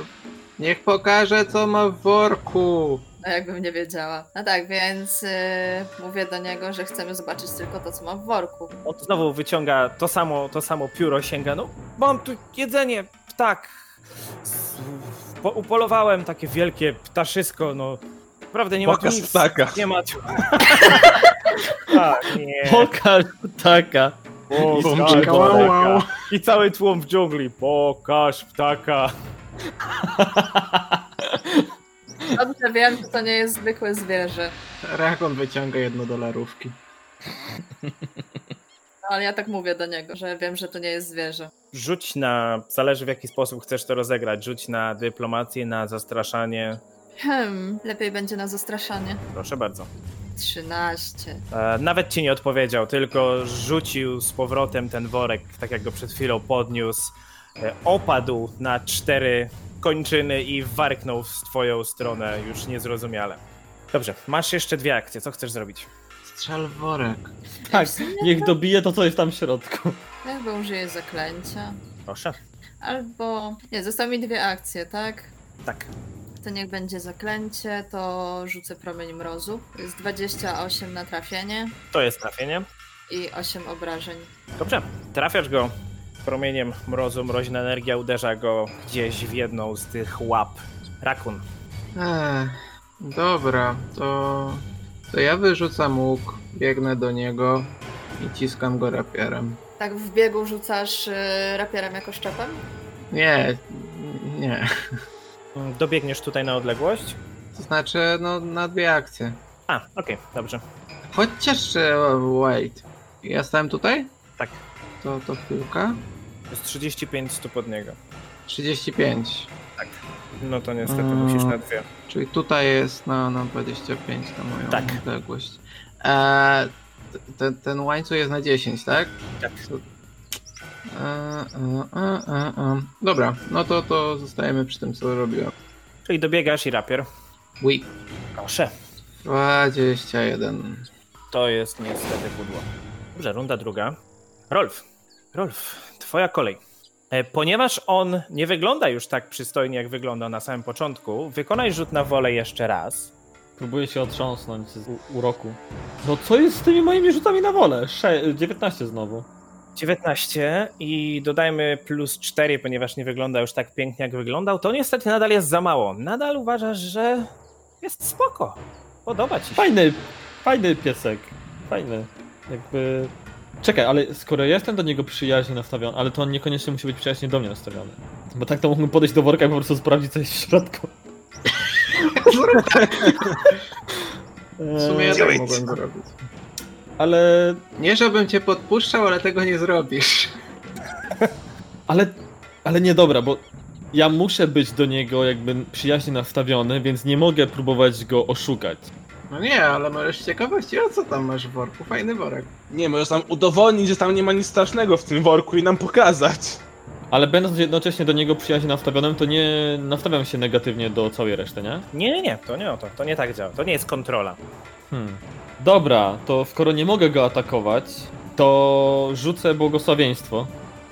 [SPEAKER 3] Niech pokaże, co ma w worku.
[SPEAKER 4] No jakbym nie wiedziała. No tak, więc yy, mówię do niego, że chcemy zobaczyć tylko to, co ma w worku.
[SPEAKER 1] On znowu wyciąga to samo, to samo pióro, sięga. No, mam tu jedzenie, ptak. S- Po, upolowałem takie wielkie ptaszysko, no. Naprawdę nie ma tu
[SPEAKER 5] Pokaz
[SPEAKER 1] nic.
[SPEAKER 5] ptaka.
[SPEAKER 1] Nie ma tu. tak, nie.
[SPEAKER 2] Pokaż ptaka.
[SPEAKER 1] Pokaż ptaka. I cały tłum w dżungli. Pokaż ptaka.
[SPEAKER 4] Dobrze wiem, że to nie jest zwykłe zwierzę.
[SPEAKER 3] Rakon wyciąga jedno dolarówki.
[SPEAKER 4] No ale ja tak mówię do niego, że wiem, że to nie jest zwierzę.
[SPEAKER 1] Rzuć na. Zależy w jaki sposób chcesz to rozegrać. Rzuć na dyplomację, na zastraszanie.
[SPEAKER 4] Hmm, lepiej będzie na zastraszanie.
[SPEAKER 1] Proszę bardzo.
[SPEAKER 4] 13.
[SPEAKER 1] E, Nawet ci nie odpowiedział, tylko rzucił z powrotem ten worek, tak jak go przed chwilą podniósł. E, Opadł na cztery kończyny i warknął w twoją stronę, już niezrozumiale. Dobrze, masz jeszcze dwie akcje, co chcesz zrobić?
[SPEAKER 3] Strzel w worek.
[SPEAKER 2] Tak, niech dobije to, co jest tam w środku.
[SPEAKER 4] Ja chyba użyję zaklęcia.
[SPEAKER 1] Proszę.
[SPEAKER 4] Albo. Nie, zostały mi dwie akcje, tak?
[SPEAKER 1] Tak.
[SPEAKER 4] To niech będzie zaklęcie, to rzucę promień mrozu. To jest 28 na trafienie
[SPEAKER 1] To jest trafienie.
[SPEAKER 4] i 8 obrażeń.
[SPEAKER 1] Dobrze, trafiasz go promieniem mrozu, mroźna energia uderza go gdzieś w jedną z tych łap. Rakun.
[SPEAKER 3] Eee, dobra, to, to ja wyrzucam łuk, biegnę do niego i ciskam go rapierem.
[SPEAKER 4] Tak w biegu rzucasz y, rapierem jako szczepem?
[SPEAKER 3] Nie, nie.
[SPEAKER 1] Dobiegniesz tutaj na odległość?
[SPEAKER 3] To znaczy, no, na dwie akcje.
[SPEAKER 1] A, okej, dobrze.
[SPEAKER 3] Chociaż, e, wait. Ja stałem tutaj?
[SPEAKER 1] Tak.
[SPEAKER 3] To, to chwilka.
[SPEAKER 1] To jest 35 stóp od niego.
[SPEAKER 3] 35.
[SPEAKER 1] No to niestety
[SPEAKER 3] Mm.
[SPEAKER 1] musisz na dwie.
[SPEAKER 3] Czyli tutaj jest no, na, na 25 na moją
[SPEAKER 1] Tak.
[SPEAKER 3] odległość. Eee, t- ten, ten łańcuch jest na 10, tak?
[SPEAKER 1] Tak.
[SPEAKER 3] To- Eee, e, e, e, e. Dobra, no to, to zostajemy przy tym, co robiłem.
[SPEAKER 1] Czyli dobiegasz i rapier.
[SPEAKER 3] Week
[SPEAKER 1] Proszę.
[SPEAKER 3] 21.
[SPEAKER 1] To jest niestety pudło. Dobrze, runda druga. Rolf. Rolf, twoja kolej. E, Ponieważ on nie wygląda już tak przystojnie, jak wyglądał na samym początku, wykonaj rzut na wolę jeszcze raz.
[SPEAKER 2] Próbuję się otrząsnąć z u- uroku. No co jest z tymi moimi rzutami na wolę? Sze 19 znowu.
[SPEAKER 1] 19 i dodajmy plus 4, ponieważ nie wygląda już tak pięknie, jak wyglądał, to niestety nadal jest za mało. Nadal uważasz, że jest spoko. Podoba ci się.
[SPEAKER 2] Fajny, fajny piesek. Fajny. Jakby... Czekaj, ale skoro ja jestem do niego przyjaźnie nastawiony, ale to on niekoniecznie musi być przyjaźnie do mnie nastawiony. Bo tak to mógłbym podejść do worka i po prostu sprawdzić, co jest w środku.
[SPEAKER 3] W sumie ja
[SPEAKER 2] Eee,
[SPEAKER 3] tak mogłem zrobić.
[SPEAKER 2] Ale...
[SPEAKER 3] Nie, żebym cię podpuszczał, ale tego nie zrobisz.
[SPEAKER 2] Ale... Ale nie dobra, bo ja muszę być do niego jakby przyjaźnie nastawiony, więc nie mogę próbować go oszukać.
[SPEAKER 3] No nie, ale możesz z ciekawości, o co tam masz w worku? Fajny worek.
[SPEAKER 5] Nie, możesz nam udowodnić, że tam nie ma nic strasznego w tym worku i nam pokazać.
[SPEAKER 2] Ale będąc jednocześnie do niego przyjaźnie nastawionym, to nie nastawiam się negatywnie do całej reszty, nie?
[SPEAKER 1] Nie, nie, nie, to nie o to. To nie tak działa. To nie jest kontrola.
[SPEAKER 2] Hmm. Dobra, to skoro nie mogę go atakować, to rzucę błogosławieństwo,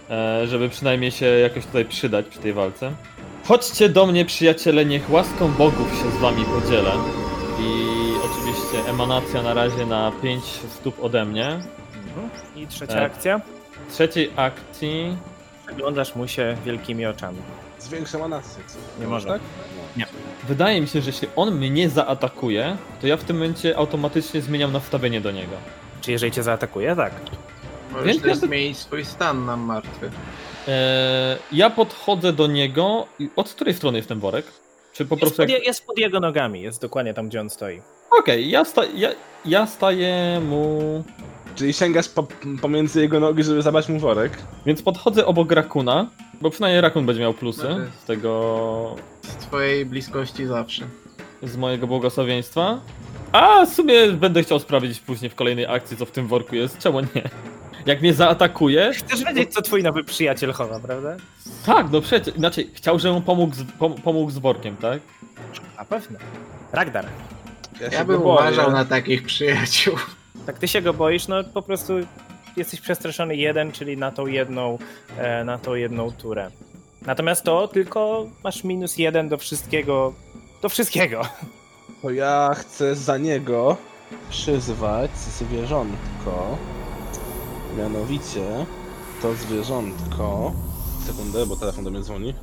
[SPEAKER 2] e, żeby przynajmniej się jakoś tutaj przydać przy tej walce. Chodźcie do mnie, przyjaciele, niech łaską bogów się z wami podzielę. I oczywiście emanacja na razie na 5 stóp ode mnie.
[SPEAKER 1] Mhm. I trzecia
[SPEAKER 2] Tak.
[SPEAKER 1] akcja.
[SPEAKER 2] W trzeciej akcji
[SPEAKER 1] Przeglądasz mu się wielkimi oczami.
[SPEAKER 5] Zwiększam anasy.
[SPEAKER 1] Nie może.
[SPEAKER 5] tak?
[SPEAKER 2] Wydaje mi się, że jeśli on mnie zaatakuje, to ja w tym momencie automatycznie zmieniam nastawienie do niego.
[SPEAKER 1] Czy jeżeli cię zaatakuje? Tak.
[SPEAKER 3] Możesz
[SPEAKER 2] Więc
[SPEAKER 3] też
[SPEAKER 2] jakby-
[SPEAKER 3] zmienić swój stan na martwy.
[SPEAKER 2] Eee, ja podchodzę do niego. i Od której strony jest ten worek? Czy po
[SPEAKER 1] Jest
[SPEAKER 2] prostu.
[SPEAKER 1] pod,
[SPEAKER 2] Jak...
[SPEAKER 1] je,
[SPEAKER 2] Okej,
[SPEAKER 1] jest pod jego nogami, jest dokładnie tam, gdzie on stoi.
[SPEAKER 2] ja, sta... ja, ja staję mu.
[SPEAKER 5] Czyli sięgasz po, pomiędzy jego nogi, żeby zabrać mu worek.
[SPEAKER 2] Więc podchodzę obok rakuna, bo przynajmniej rakun będzie miał plusy
[SPEAKER 3] Okej.
[SPEAKER 2] z tego.
[SPEAKER 3] Z twojej bliskości zawsze.
[SPEAKER 2] z mojego błogosławieństwa. A w sumie będę chciał sprawdzić później w kolejnej akcji, co w tym worku jest. Czemu nie? Jak mnie zaatakuje,
[SPEAKER 1] Chcesz wiedzieć, co twój nowy przyjaciel chowa, prawda?
[SPEAKER 2] Tak, no przecież, znaczy chciał, żebym pomógł z, pom, pomógł z workiem, tak?
[SPEAKER 1] Na pewno. Ragdar.
[SPEAKER 3] Ja
[SPEAKER 5] się
[SPEAKER 3] bym
[SPEAKER 5] go boję.
[SPEAKER 3] uważał na takich przyjaciół.
[SPEAKER 1] Tak, ty się go boisz, no po prostu jesteś przestraszony jeden, czyli na tą jedną, e, na tą jedną turę. Natomiast to tylko masz minus jeden do wszystkiego, do wszystkiego.
[SPEAKER 5] To ja chcę za niego przyzwać zwierzątko. Mianowicie to zwierzątko. Sekundę, bo telefon do mnie dzwoni.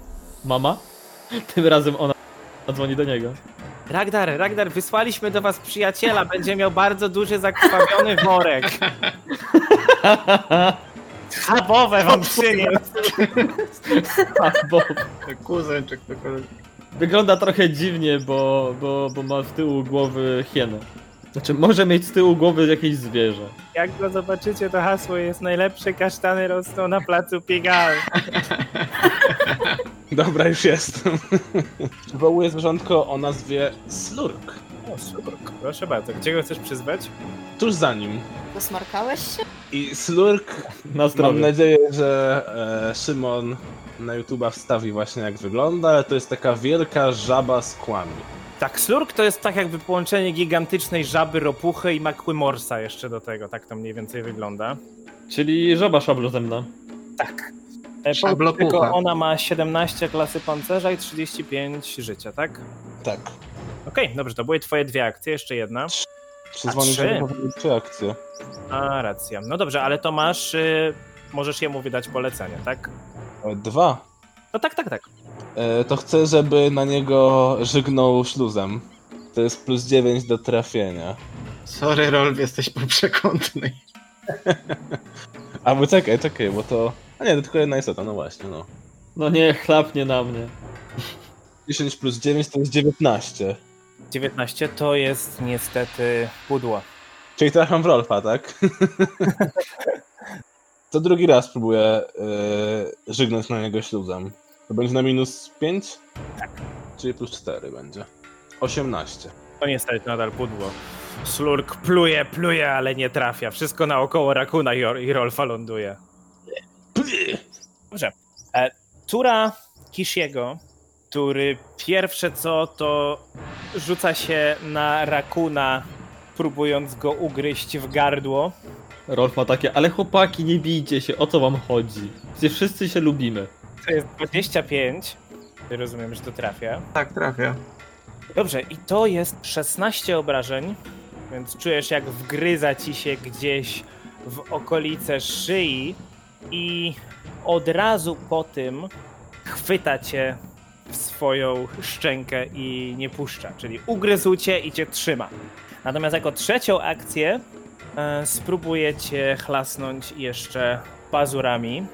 [SPEAKER 2] Mama? Tym razem ona dzwoni do niego.
[SPEAKER 1] Ragdar, Ragdar, wysłaliśmy do was przyjaciela, będzie miał bardzo duży zakrwawiony worek. Schabowe wam przyniósł.
[SPEAKER 2] A, bo
[SPEAKER 3] Kuzyn czy ktokolwiek.
[SPEAKER 2] wygląda trochę dziwnie, bo, bo, bo ma z tyłu głowy hienę. Znaczy, może mieć z tyłu głowy jakieś zwierzę.
[SPEAKER 1] Jak go zobaczycie, to hasło jest najlepsze, kasztany rosną na placu Pigal.
[SPEAKER 5] Dobra, już jestem. Wywołuję zwierzątko o nazwie Slurk.
[SPEAKER 1] O, Slurk. Proszę bardzo, gdzie go chcesz przyzwać?
[SPEAKER 5] Tuż za nim.
[SPEAKER 4] Posmarkałeś się?
[SPEAKER 5] I Slurk,
[SPEAKER 2] Na
[SPEAKER 5] mam
[SPEAKER 2] zdrowie.
[SPEAKER 5] nadzieję, że e, Szymon na YouTube'a wstawi właśnie jak wygląda, ale to jest taka wielka żaba z kłami.
[SPEAKER 1] Tak, slurk to jest tak jakby połączenie gigantycznej żaby, ropuchy i makły morsa jeszcze do tego, tak to mniej więcej wygląda.
[SPEAKER 2] Czyli żaba szablozemna.
[SPEAKER 1] Tak. E,
[SPEAKER 3] Szablo
[SPEAKER 1] powiem tylko
[SPEAKER 3] pucha.
[SPEAKER 1] ona ma 17 klasy pancerza i 35 życia, tak?
[SPEAKER 5] Tak.
[SPEAKER 1] Okej, dobrze, to były twoje dwie akcje, jeszcze jedna.
[SPEAKER 5] Czy
[SPEAKER 1] A
[SPEAKER 5] dzwonisz,
[SPEAKER 1] trzy?
[SPEAKER 5] żeby powiedzieć trzy akcje?
[SPEAKER 1] A, racja. No dobrze, ale to masz, y, możesz jemu wydać polecenie, tak?
[SPEAKER 5] E, Dwa.
[SPEAKER 1] No tak, tak, tak.
[SPEAKER 5] E, to chcę, żeby na niego żygnął śluzem. To jest plus 9 do trafienia.
[SPEAKER 3] Sorry, Rolf, jesteś poprzekątny.
[SPEAKER 5] A bo czekaj, czekaj, bo to... A nie, to tylko jedna istota, no właśnie, no.
[SPEAKER 2] No nie, chlapnie na mnie.
[SPEAKER 5] 10 plus 9 to jest 19.
[SPEAKER 1] 19 to jest niestety pudło.
[SPEAKER 5] Czyli trafiam w Rolfa, tak? to drugi raz próbuję e, żygnąć na niego śluzem. To będzie na minus 5? Tak. Czyli plus 4 będzie. 18.
[SPEAKER 1] To niestety nadal pudło. Slurk pluje, pluje, ale nie trafia. Wszystko naokoło Rakuna i, Or- i Rolfa ląduje. Dobrze. E, tura Kishiego, który pierwsze co to rzuca się na Rakuna, próbując go ugryźć w gardło.
[SPEAKER 2] Rolf ma takie, ale chłopaki, nie bijcie się, o co wam chodzi? Gdzie wszyscy się lubimy.
[SPEAKER 1] To jest 25. Rozumiem, że to trafia.
[SPEAKER 3] Tak, trafia.
[SPEAKER 1] Dobrze, i to jest 16 obrażeń, więc czujesz jak wgryza ci się gdzieś w okolice szyi i od razu po tym chwyta cię w swoją szczękę i nie puszcza, czyli ugryzł cię i cię trzyma. Natomiast jako trzecią akcję e, spróbuję cię chlasnąć jeszcze pazurami.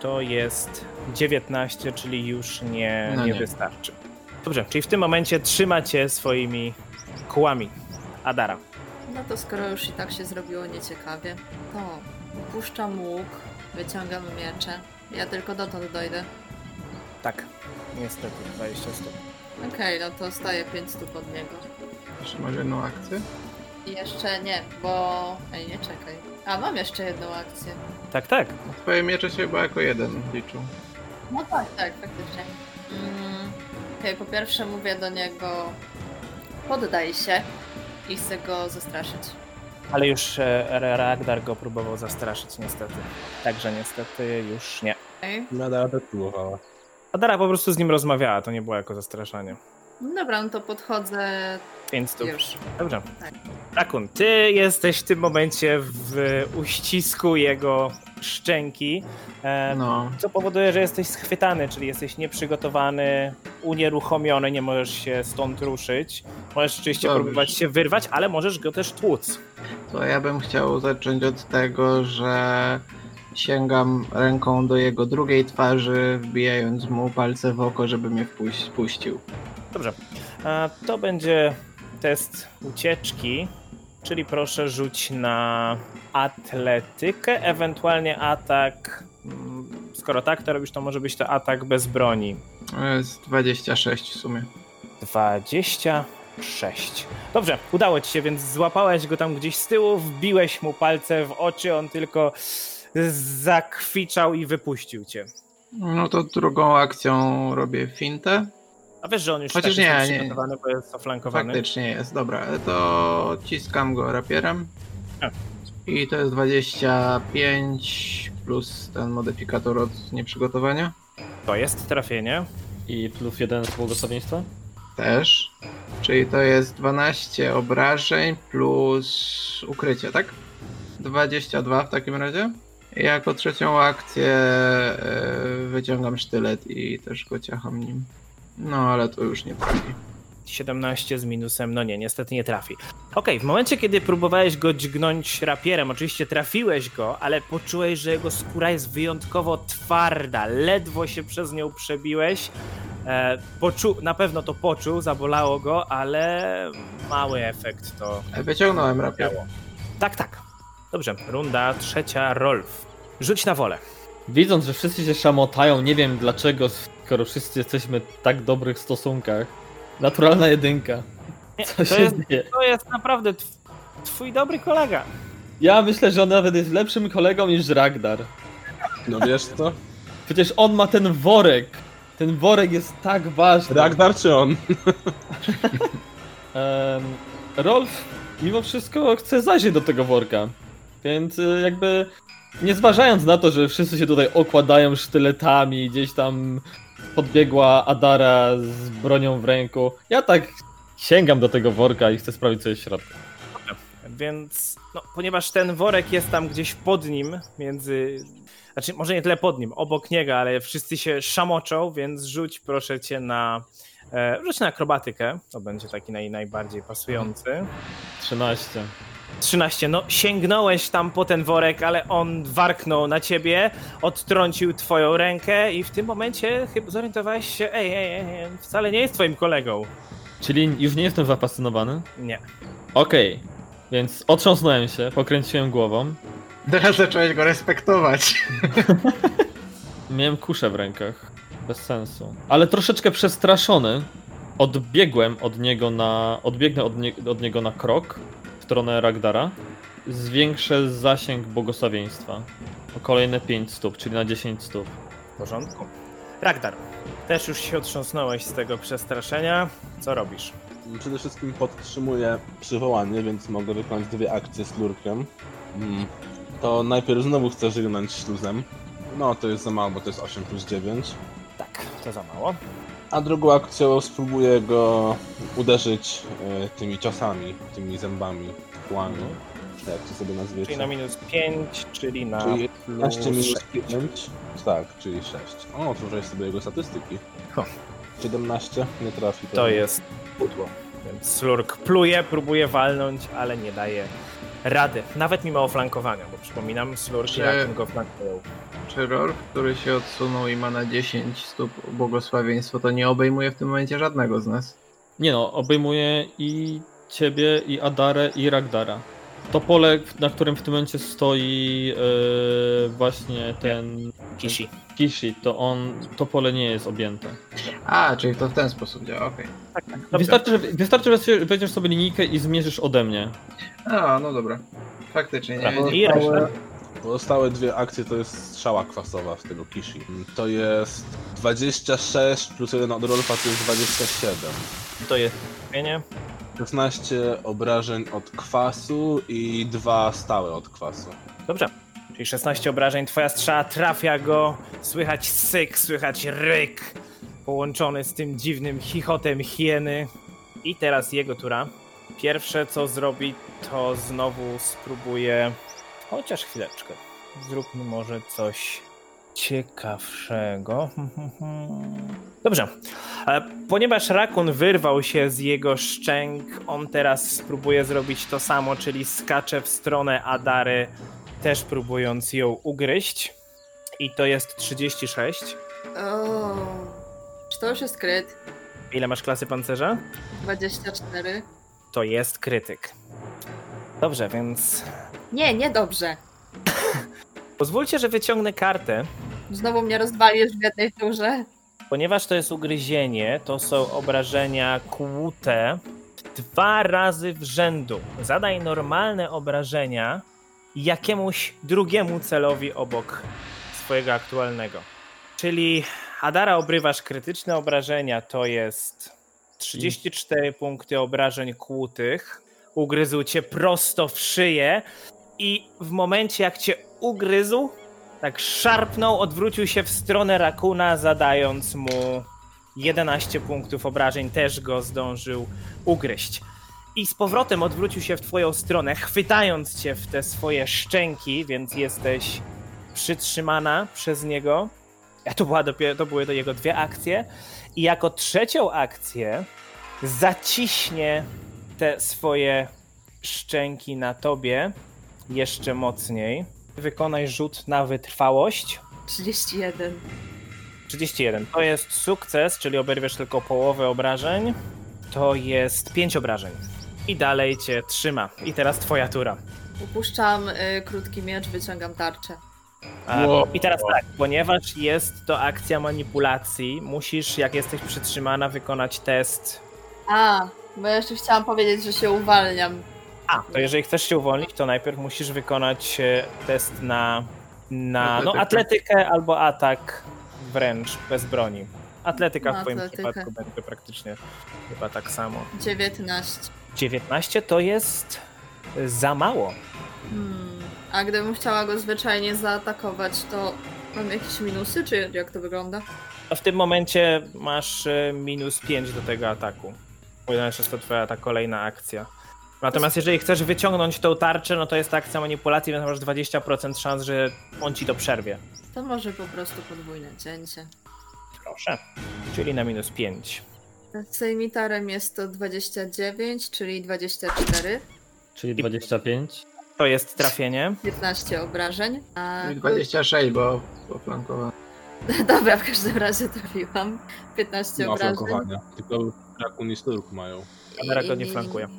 [SPEAKER 1] To jest 19, czyli już nie,
[SPEAKER 3] No
[SPEAKER 1] nie
[SPEAKER 3] nie.
[SPEAKER 1] wystarczy. Dobrze, czyli w tym momencie trzyma cię swoimi kłami. Adara.
[SPEAKER 4] No to skoro już i tak się zrobiło nieciekawie, to puszczam łuk, wyciągam miecze. Ja tylko dotąd dojdę.
[SPEAKER 1] Tak, niestety, 20 stopni.
[SPEAKER 4] Okej, no to staję 5 stóp od niego.
[SPEAKER 3] Jeszcze masz jedną akcję?
[SPEAKER 4] I jeszcze nie, bo... Ej, nie czekaj. A, mam jeszcze jedną akcję.
[SPEAKER 1] Tak, tak.
[SPEAKER 3] No, Twoje miecze się chyba jako jeden liczą.
[SPEAKER 4] No tak, tak, faktycznie. Mm, okej, po pierwsze mówię do niego poddaj się i chcę go zastraszyć.
[SPEAKER 1] Ale już e, Ragdar go próbował zastraszyć, niestety. Także niestety już nie.
[SPEAKER 4] Okej.
[SPEAKER 5] Nadal też próbowała.
[SPEAKER 1] Adara po prostu z nim rozmawiała, to nie było jako zastraszanie.
[SPEAKER 4] No Dobra, no to podchodzę
[SPEAKER 1] Więc tu.
[SPEAKER 4] już.
[SPEAKER 1] Dobrze.
[SPEAKER 4] Tak.
[SPEAKER 1] Rakun, ty jesteś w tym momencie w uścisku jego szczęki. E,
[SPEAKER 3] No,
[SPEAKER 1] Co powoduje, że jesteś schwytany, czyli jesteś nieprzygotowany, unieruchomiony, nie możesz się stąd ruszyć. Możesz oczywiście
[SPEAKER 3] Dobrze.
[SPEAKER 1] próbować się wyrwać, ale możesz go też tłuc.
[SPEAKER 3] to ja bym chciał zacząć od tego, że sięgam ręką do jego drugiej twarzy, wbijając mu palce w oko, żeby mnie wpuś- puścił.
[SPEAKER 1] Dobrze. A to będzie test ucieczki, czyli proszę rzuć na atletykę, ewentualnie atak. Mm, Skoro tak to robisz, to może być to atak bez broni.
[SPEAKER 3] To jest 26 w sumie.
[SPEAKER 1] 26. Dobrze, udało ci się, więc złapałeś go tam gdzieś z tyłu, wbiłeś mu palce w oczy, on tylko zakwiczał i wypuścił cię.
[SPEAKER 3] No to drugą akcją robię fintę.
[SPEAKER 1] A wiesz, że on już
[SPEAKER 3] Chociaż
[SPEAKER 1] tak jest
[SPEAKER 3] nie, nie.
[SPEAKER 1] przygotowany, bo jest oflankowany.
[SPEAKER 3] Faktycznie jest, dobra, to ciskam go rapierem.
[SPEAKER 1] Tak.
[SPEAKER 3] I to jest 25 plus ten modyfikator od nieprzygotowania.
[SPEAKER 1] To jest trafienie.
[SPEAKER 2] I plus jeden z błogosławieństwa?
[SPEAKER 3] Też. Czyli to jest 12 obrażeń plus ukrycie, tak? 22 w takim razie. I Jako trzecią akcję e, wyciągam sztylet i też go ciacham nim. No ale to już nie trafi.
[SPEAKER 1] 17 z minusem, no nie, niestety nie trafi. Okej, w momencie, kiedy próbowałeś go dźgnąć rapierem, oczywiście trafiłeś go, ale poczułeś, że jego skóra jest wyjątkowo twarda, ledwo się przez nią przebiłeś. E, poczu- na pewno to poczuł, zabolało go, ale mały efekt to
[SPEAKER 3] E, Wyciągnąłem rapier.
[SPEAKER 1] Tak, tak. Dobrze, runda trzecia, Rolf. Rzuć na wolę.
[SPEAKER 2] Widząc, że wszyscy się szamotają, nie wiem dlaczego, skoro wszyscy jesteśmy w tak dobrych stosunkach. Naturalna jedynka. Co
[SPEAKER 1] to
[SPEAKER 2] się
[SPEAKER 1] jest-
[SPEAKER 2] dzieje?
[SPEAKER 1] To jest naprawdę tw- twój dobry kolega.
[SPEAKER 2] Ja myślę, że on nawet jest lepszym kolegą niż Ragnar.
[SPEAKER 5] No wiesz co?
[SPEAKER 2] Przecież on ma ten worek. Ten worek jest tak ważny.
[SPEAKER 5] Ragnar czy on?
[SPEAKER 2] Em, Rolf mimo wszystko chce zajrzeć do tego worka. Więc y, jakby nie zważając na to, że wszyscy się tutaj okładają sztyletami, gdzieś tam podbiegła Adara z bronią w ręku. Ja tak sięgam do tego worka i chcę sprawdzić co jest w środku.
[SPEAKER 1] Więc, no, ponieważ ten worek jest tam gdzieś pod nim, między. Znaczy, może nie tyle pod nim, obok niego, ale wszyscy się szamoczą, więc rzuć proszę cię na. E, rzuć na akrobatykę. To będzie taki naj, najbardziej pasujący.
[SPEAKER 2] 13.
[SPEAKER 1] 13. No, sięgnąłeś tam po ten worek, ale on warknął na ciebie, odtrącił twoją rękę i w tym momencie chyba zorientowałeś się, ej, ej, ej, ej, wcale nie jest twoim kolegą.
[SPEAKER 2] Czyli już nie jestem zafascynowany?
[SPEAKER 1] Nie.
[SPEAKER 2] Okej. Więc otrząsnąłem się, pokręciłem głową.
[SPEAKER 3] Teraz zacząłeś go respektować.
[SPEAKER 2] Miałem kuszę w rękach. Bez sensu. Ale troszeczkę przestraszony. Odbiegłem od niego na. Odbiegnę od, nie, od niego na krok w stronę Ragdara. Zwiększę zasięg błogosławieństwa. O kolejne 5 stóp, czyli na 10 stóp.
[SPEAKER 1] W porządku. Ragdar, też już się otrząsnąłeś z tego przestraszenia. Co robisz?
[SPEAKER 5] Przede wszystkim podtrzymuję przywołanie, więc mogę wykonać dwie akcje z lurkiem. Mm. To najpierw znowu chcę żegnać śluzem. No, to jest za mało, bo to jest 8 plus 9.
[SPEAKER 1] Tak, to za mało.
[SPEAKER 5] A drugą akcją spróbuję go uderzyć e, tymi ciosami, tymi zębami, kłami, Tak, czy jak to sobie nazwiecie.
[SPEAKER 1] Mhm. Czyli na minus 5, czyli na
[SPEAKER 5] Czyli
[SPEAKER 1] plus
[SPEAKER 5] 11 minus
[SPEAKER 1] 6.
[SPEAKER 5] 5. Tak, czyli 6. O, otworzyłeś sobie jego statystyki.
[SPEAKER 1] Ho.
[SPEAKER 5] 17, nie trafi.
[SPEAKER 1] To
[SPEAKER 5] pewnie.
[SPEAKER 1] jest pudło. Więc Slurk pluje, próbuje walnąć, ale nie daje rady. Nawet mimo oflankowania, bo przypominam, Slurk i
[SPEAKER 3] Czy-
[SPEAKER 1] Rakim go flankują.
[SPEAKER 3] Czy Rolf, który się odsunął i ma na 10 stóp błogosławieństwo, to nie obejmuje w tym momencie żadnego z nas?
[SPEAKER 2] Nie no, obejmuję i ciebie, i Adarę, i Ragdara. To pole, na którym w tym momencie stoi yy, właśnie ten
[SPEAKER 1] Kishi.
[SPEAKER 2] Kishi, to on, to pole nie jest objęte.
[SPEAKER 3] A, czyli to w ten sposób działa, okej.
[SPEAKER 2] Wystarczy, że, wystarczy, że sobie- weźmiesz sobie linijkę i zmierzysz ode mnie.
[SPEAKER 3] A, no dobra. Faktycznie, nie, nie
[SPEAKER 1] Tak. I Ragnar.
[SPEAKER 5] Pozostałe dwie akcje to jest strzała kwasowa w tego Kishi. To jest 26 plus 1 od Rolfa to jest 27.
[SPEAKER 1] To jest trafienie.
[SPEAKER 5] 16 obrażeń od kwasu i 2 stałe od kwasu.
[SPEAKER 1] Dobrze. Czyli 16 obrażeń, twoja strzała trafia go, słychać syk, słychać ryk, połączony z tym dziwnym chichotem hieny. I teraz jego tura. Pierwsze co zrobi, to znowu spróbuje, chociaż chwileczkę, zróbmy może coś ciekawszego. Dobrze. E, Ponieważ rakun wyrwał się z jego szczęk, on teraz spróbuje zrobić to samo, czyli skacze w stronę Adary też próbując ją ugryźć. I to jest 36.
[SPEAKER 4] O, czy to już jest kryt?
[SPEAKER 1] Ile masz klasy pancerza?
[SPEAKER 4] 24.
[SPEAKER 1] To jest krytyk. Dobrze, więc
[SPEAKER 4] Nie, niedobrze.
[SPEAKER 1] pozwólcie, że wyciągnę kartę.
[SPEAKER 4] Znowu mnie rozwalisz w jednej turze.
[SPEAKER 1] Ponieważ to jest ugryzienie, to są obrażenia kłute dwa razy w rzędu. Zadaj normalne obrażenia jakiemuś drugiemu celowi obok swojego aktualnego. Czyli Adara obrywasz krytyczne obrażenia, to jest 34 punkty obrażeń kłutych. Ugryzł cię prosto w szyję i w momencie jak cię ugryzł, tak szarpnął, odwrócił się w stronę rakuna, zadając mu 11 punktów obrażeń, też go zdążył ugryźć. I z powrotem odwrócił się w twoją stronę, chwytając cię w te swoje szczęki, więc jesteś przytrzymana przez niego. A To, była dopiero, to były jego dwie akcje. I jako trzecią akcję zaciśnie te swoje szczęki na tobie jeszcze mocniej. Wykonaj rzut na wytrwałość.
[SPEAKER 4] 31.
[SPEAKER 1] 31. To jest sukces, czyli oberwiesz tylko połowę obrażeń. To jest 5 obrażeń. I dalej cię trzyma. I teraz twoja tura.
[SPEAKER 4] Upuszczam y, krótki miecz, wyciągam tarczę.
[SPEAKER 1] A,
[SPEAKER 3] Wow.
[SPEAKER 1] I teraz tak, ponieważ jest to akcja manipulacji, musisz, jak jesteś przytrzymana, wykonać test
[SPEAKER 4] A, Bo ja jeszcze chciałam powiedzieć, że się uwalniam.
[SPEAKER 1] A, to jeżeli chcesz się uwolnić, to najpierw musisz wykonać e, test na, na no, atletykę albo atak wręcz bez broni. Atletyka
[SPEAKER 4] No,
[SPEAKER 1] w twoim
[SPEAKER 4] atletykę.
[SPEAKER 1] przypadku będzie praktycznie chyba tak samo.
[SPEAKER 4] 19.
[SPEAKER 1] 19 to jest za mało.
[SPEAKER 4] Hmm. A gdybym chciała go zwyczajnie zaatakować, to mam jakieś minusy, czy jak to wygląda?
[SPEAKER 1] A w tym momencie masz e, minus 5 do tego ataku. Ponieważ jest to twoja ta kolejna akcja. Natomiast jeżeli chcesz wyciągnąć tą tarczę, no to jest ta akcja manipulacji, więc masz 20% szans, że on ci to przerwie.
[SPEAKER 4] To może po prostu podwójne cięcie.
[SPEAKER 1] Proszę. Czyli na minus 5.
[SPEAKER 4] Sejmitarem jest to 29, czyli 24,
[SPEAKER 2] Czyli 25.
[SPEAKER 1] To jest trafienie.
[SPEAKER 4] 15 obrażeń. A...
[SPEAKER 3] No I 26, bo poflankowałem.
[SPEAKER 4] Dobra, w każdym razie trafiłam. 15
[SPEAKER 1] No,
[SPEAKER 5] Ma
[SPEAKER 4] obrażeń.
[SPEAKER 5] flankowania. Tylko rakun i sturk mają.
[SPEAKER 1] Kamera go nie flankuje.
[SPEAKER 4] no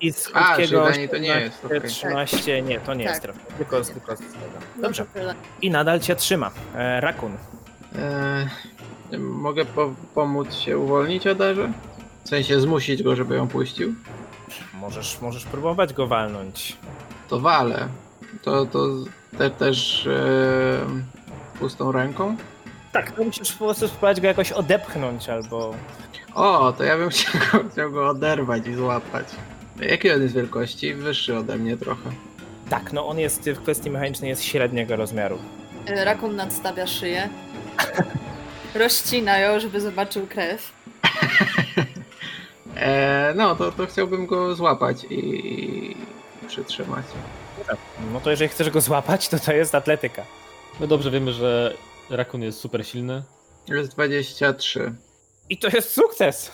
[SPEAKER 1] I z
[SPEAKER 3] A, czyli
[SPEAKER 1] krótkiego
[SPEAKER 3] dla niej to nie jest. okej.
[SPEAKER 1] 13, nie, to nie
[SPEAKER 4] Tak.
[SPEAKER 1] jest trafienie. Tylko, z- tylko z tego.
[SPEAKER 4] No
[SPEAKER 1] Dobrze.
[SPEAKER 4] to tyle.
[SPEAKER 1] I nadal cię trzyma. E, rakun.
[SPEAKER 3] E, mogę po- pomóc się uwolnić Adarze? W sensie zmusić go, żeby ją puścił?
[SPEAKER 1] Możesz, możesz próbować go walnąć.
[SPEAKER 3] To wale. To, to te, też e, pustą ręką?
[SPEAKER 1] Tak, to musisz po prostu spróbować go jakoś odepchnąć albo.
[SPEAKER 3] O, to ja bym chciał go, chciał go oderwać i złapać. Jakiej on jest wielkości? Wyższy ode mnie trochę.
[SPEAKER 1] Tak, no on jest w kwestii mechanicznej jest średniego rozmiaru.
[SPEAKER 4] E, Rakun nadstawia szyję. Rozcina ją, żeby zobaczył krew.
[SPEAKER 3] E, no, to, to chciałbym go złapać i, i przytrzymać.
[SPEAKER 1] No to jeżeli chcesz go złapać, to to jest atletyka.
[SPEAKER 2] My dobrze wiemy, że Rakun jest super silny.
[SPEAKER 3] Jest 23.
[SPEAKER 1] I to jest sukces.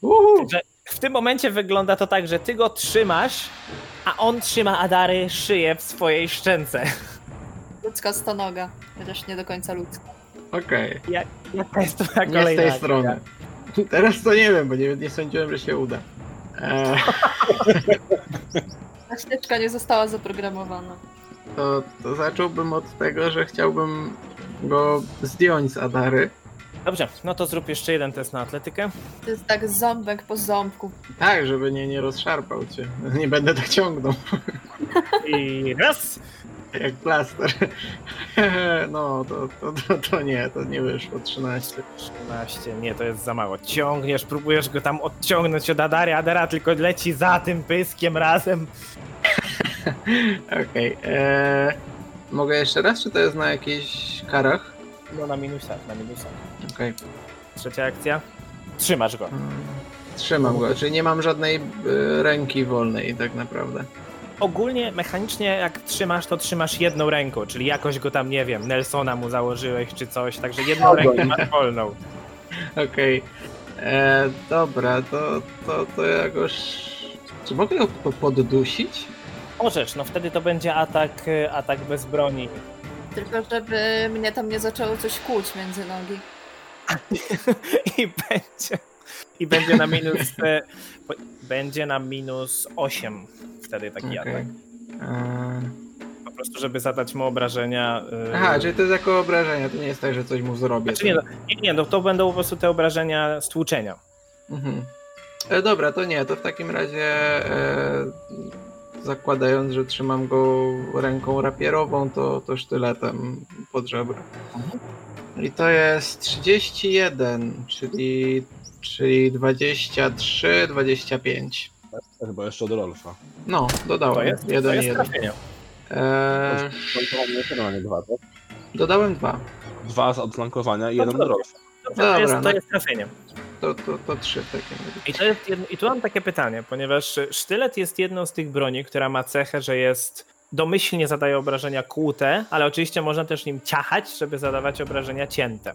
[SPEAKER 3] Uhu!
[SPEAKER 1] Że w tym momencie wygląda to tak, że ty go trzymasz, a on trzyma Adary szyję w swojej szczęce.
[SPEAKER 4] Ludzka stonoga. Chociaż nie do końca ludzka.
[SPEAKER 3] Okej,
[SPEAKER 1] To jest twoja
[SPEAKER 3] nie z
[SPEAKER 1] kolejna.
[SPEAKER 3] tej
[SPEAKER 1] akcja.
[SPEAKER 3] strony. Teraz to nie wiem, bo nie, nie sądziłem, że się uda. E,
[SPEAKER 4] Ta ścieżka nie została zaprogramowana.
[SPEAKER 3] to, to zacząłbym od tego, że chciałbym go zdjąć z Adary.
[SPEAKER 1] Dobrze, no to zrób jeszcze jeden test na atletykę.
[SPEAKER 4] To jest tak ząbek po ząbku.
[SPEAKER 3] Tak, żeby nie, nie rozszarpał cię. Nie będę tak ciągnął,
[SPEAKER 1] I raz!
[SPEAKER 3] jak plaster. No, to, to, to, to nie, to nie wyszło. 13.
[SPEAKER 1] 13, nie, to jest za mało. Ciągniesz, próbujesz go tam odciągnąć od Adary, Adara tylko leci za tym pyskiem razem.
[SPEAKER 3] Okej. e, Mogę jeszcze raz, czy to jest na jakichś karach?
[SPEAKER 1] No na minusach, na minusach.
[SPEAKER 3] Okej.
[SPEAKER 1] Trzecia akcja. Trzymasz go.
[SPEAKER 3] Mm, Trzymam go, czyli nie mam żadnej e, ręki wolnej tak naprawdę.
[SPEAKER 1] Ogólnie mechanicznie jak trzymasz, to trzymasz jedną ręką, czyli jakoś go tam, nie wiem, Nelsona mu założyłeś czy coś, także jedną rękę masz wolną.
[SPEAKER 3] Okej. E, Dobra, to, to, to jakoś... Czy mogę go po- poddusić?
[SPEAKER 1] Możesz, no wtedy to będzie atak, y, atak bez broni.
[SPEAKER 4] Tylko żeby mnie tam nie zaczęło coś kłuć między nogi.
[SPEAKER 1] I będzie, i będzie na minus, y, po- będzie na minus 8 wtedy taki
[SPEAKER 3] Okej.
[SPEAKER 1] atak.
[SPEAKER 3] E,
[SPEAKER 1] Po prostu, żeby zadać mu obrażenia. y,
[SPEAKER 3] Aha, czyli to jest jako obrażenia, to nie jest tak, że coś mu zrobię.
[SPEAKER 1] Znaczy nie, no, nie, nie, no to będą po prostu te obrażenia stłuczenia.
[SPEAKER 3] Mhm. E, dobra, to nie, to w takim razie e, zakładając, że trzymam go ręką rapierową, to, to sztyletem pod żebra.
[SPEAKER 1] Mhm.
[SPEAKER 3] I to jest 31, czyli, czyli 23, 25.
[SPEAKER 5] Chyba jeszcze od Rolfa.
[SPEAKER 3] No, dodałem.
[SPEAKER 1] To jest,
[SPEAKER 3] jeden,
[SPEAKER 1] to jest
[SPEAKER 3] jeden.
[SPEAKER 1] trafienie.
[SPEAKER 3] E,
[SPEAKER 5] Flankowanie to mamy dwa, tak? No
[SPEAKER 3] dodałem dwa.
[SPEAKER 5] Dwa z odflankowania i jeden od
[SPEAKER 1] dobra.
[SPEAKER 5] Rolfa.
[SPEAKER 1] To
[SPEAKER 3] Dobra,
[SPEAKER 1] jest,
[SPEAKER 3] no.
[SPEAKER 1] to jest trafienie.
[SPEAKER 3] To, to, to trzy w takim razie.
[SPEAKER 1] I, to jest jedno, I tu mam takie pytanie, ponieważ sztylet jest jedną z tych broni, która ma cechę, że jest domyślnie zadaje obrażenia kłute, ale oczywiście można też nim ciachać, żeby zadawać obrażenia cięte.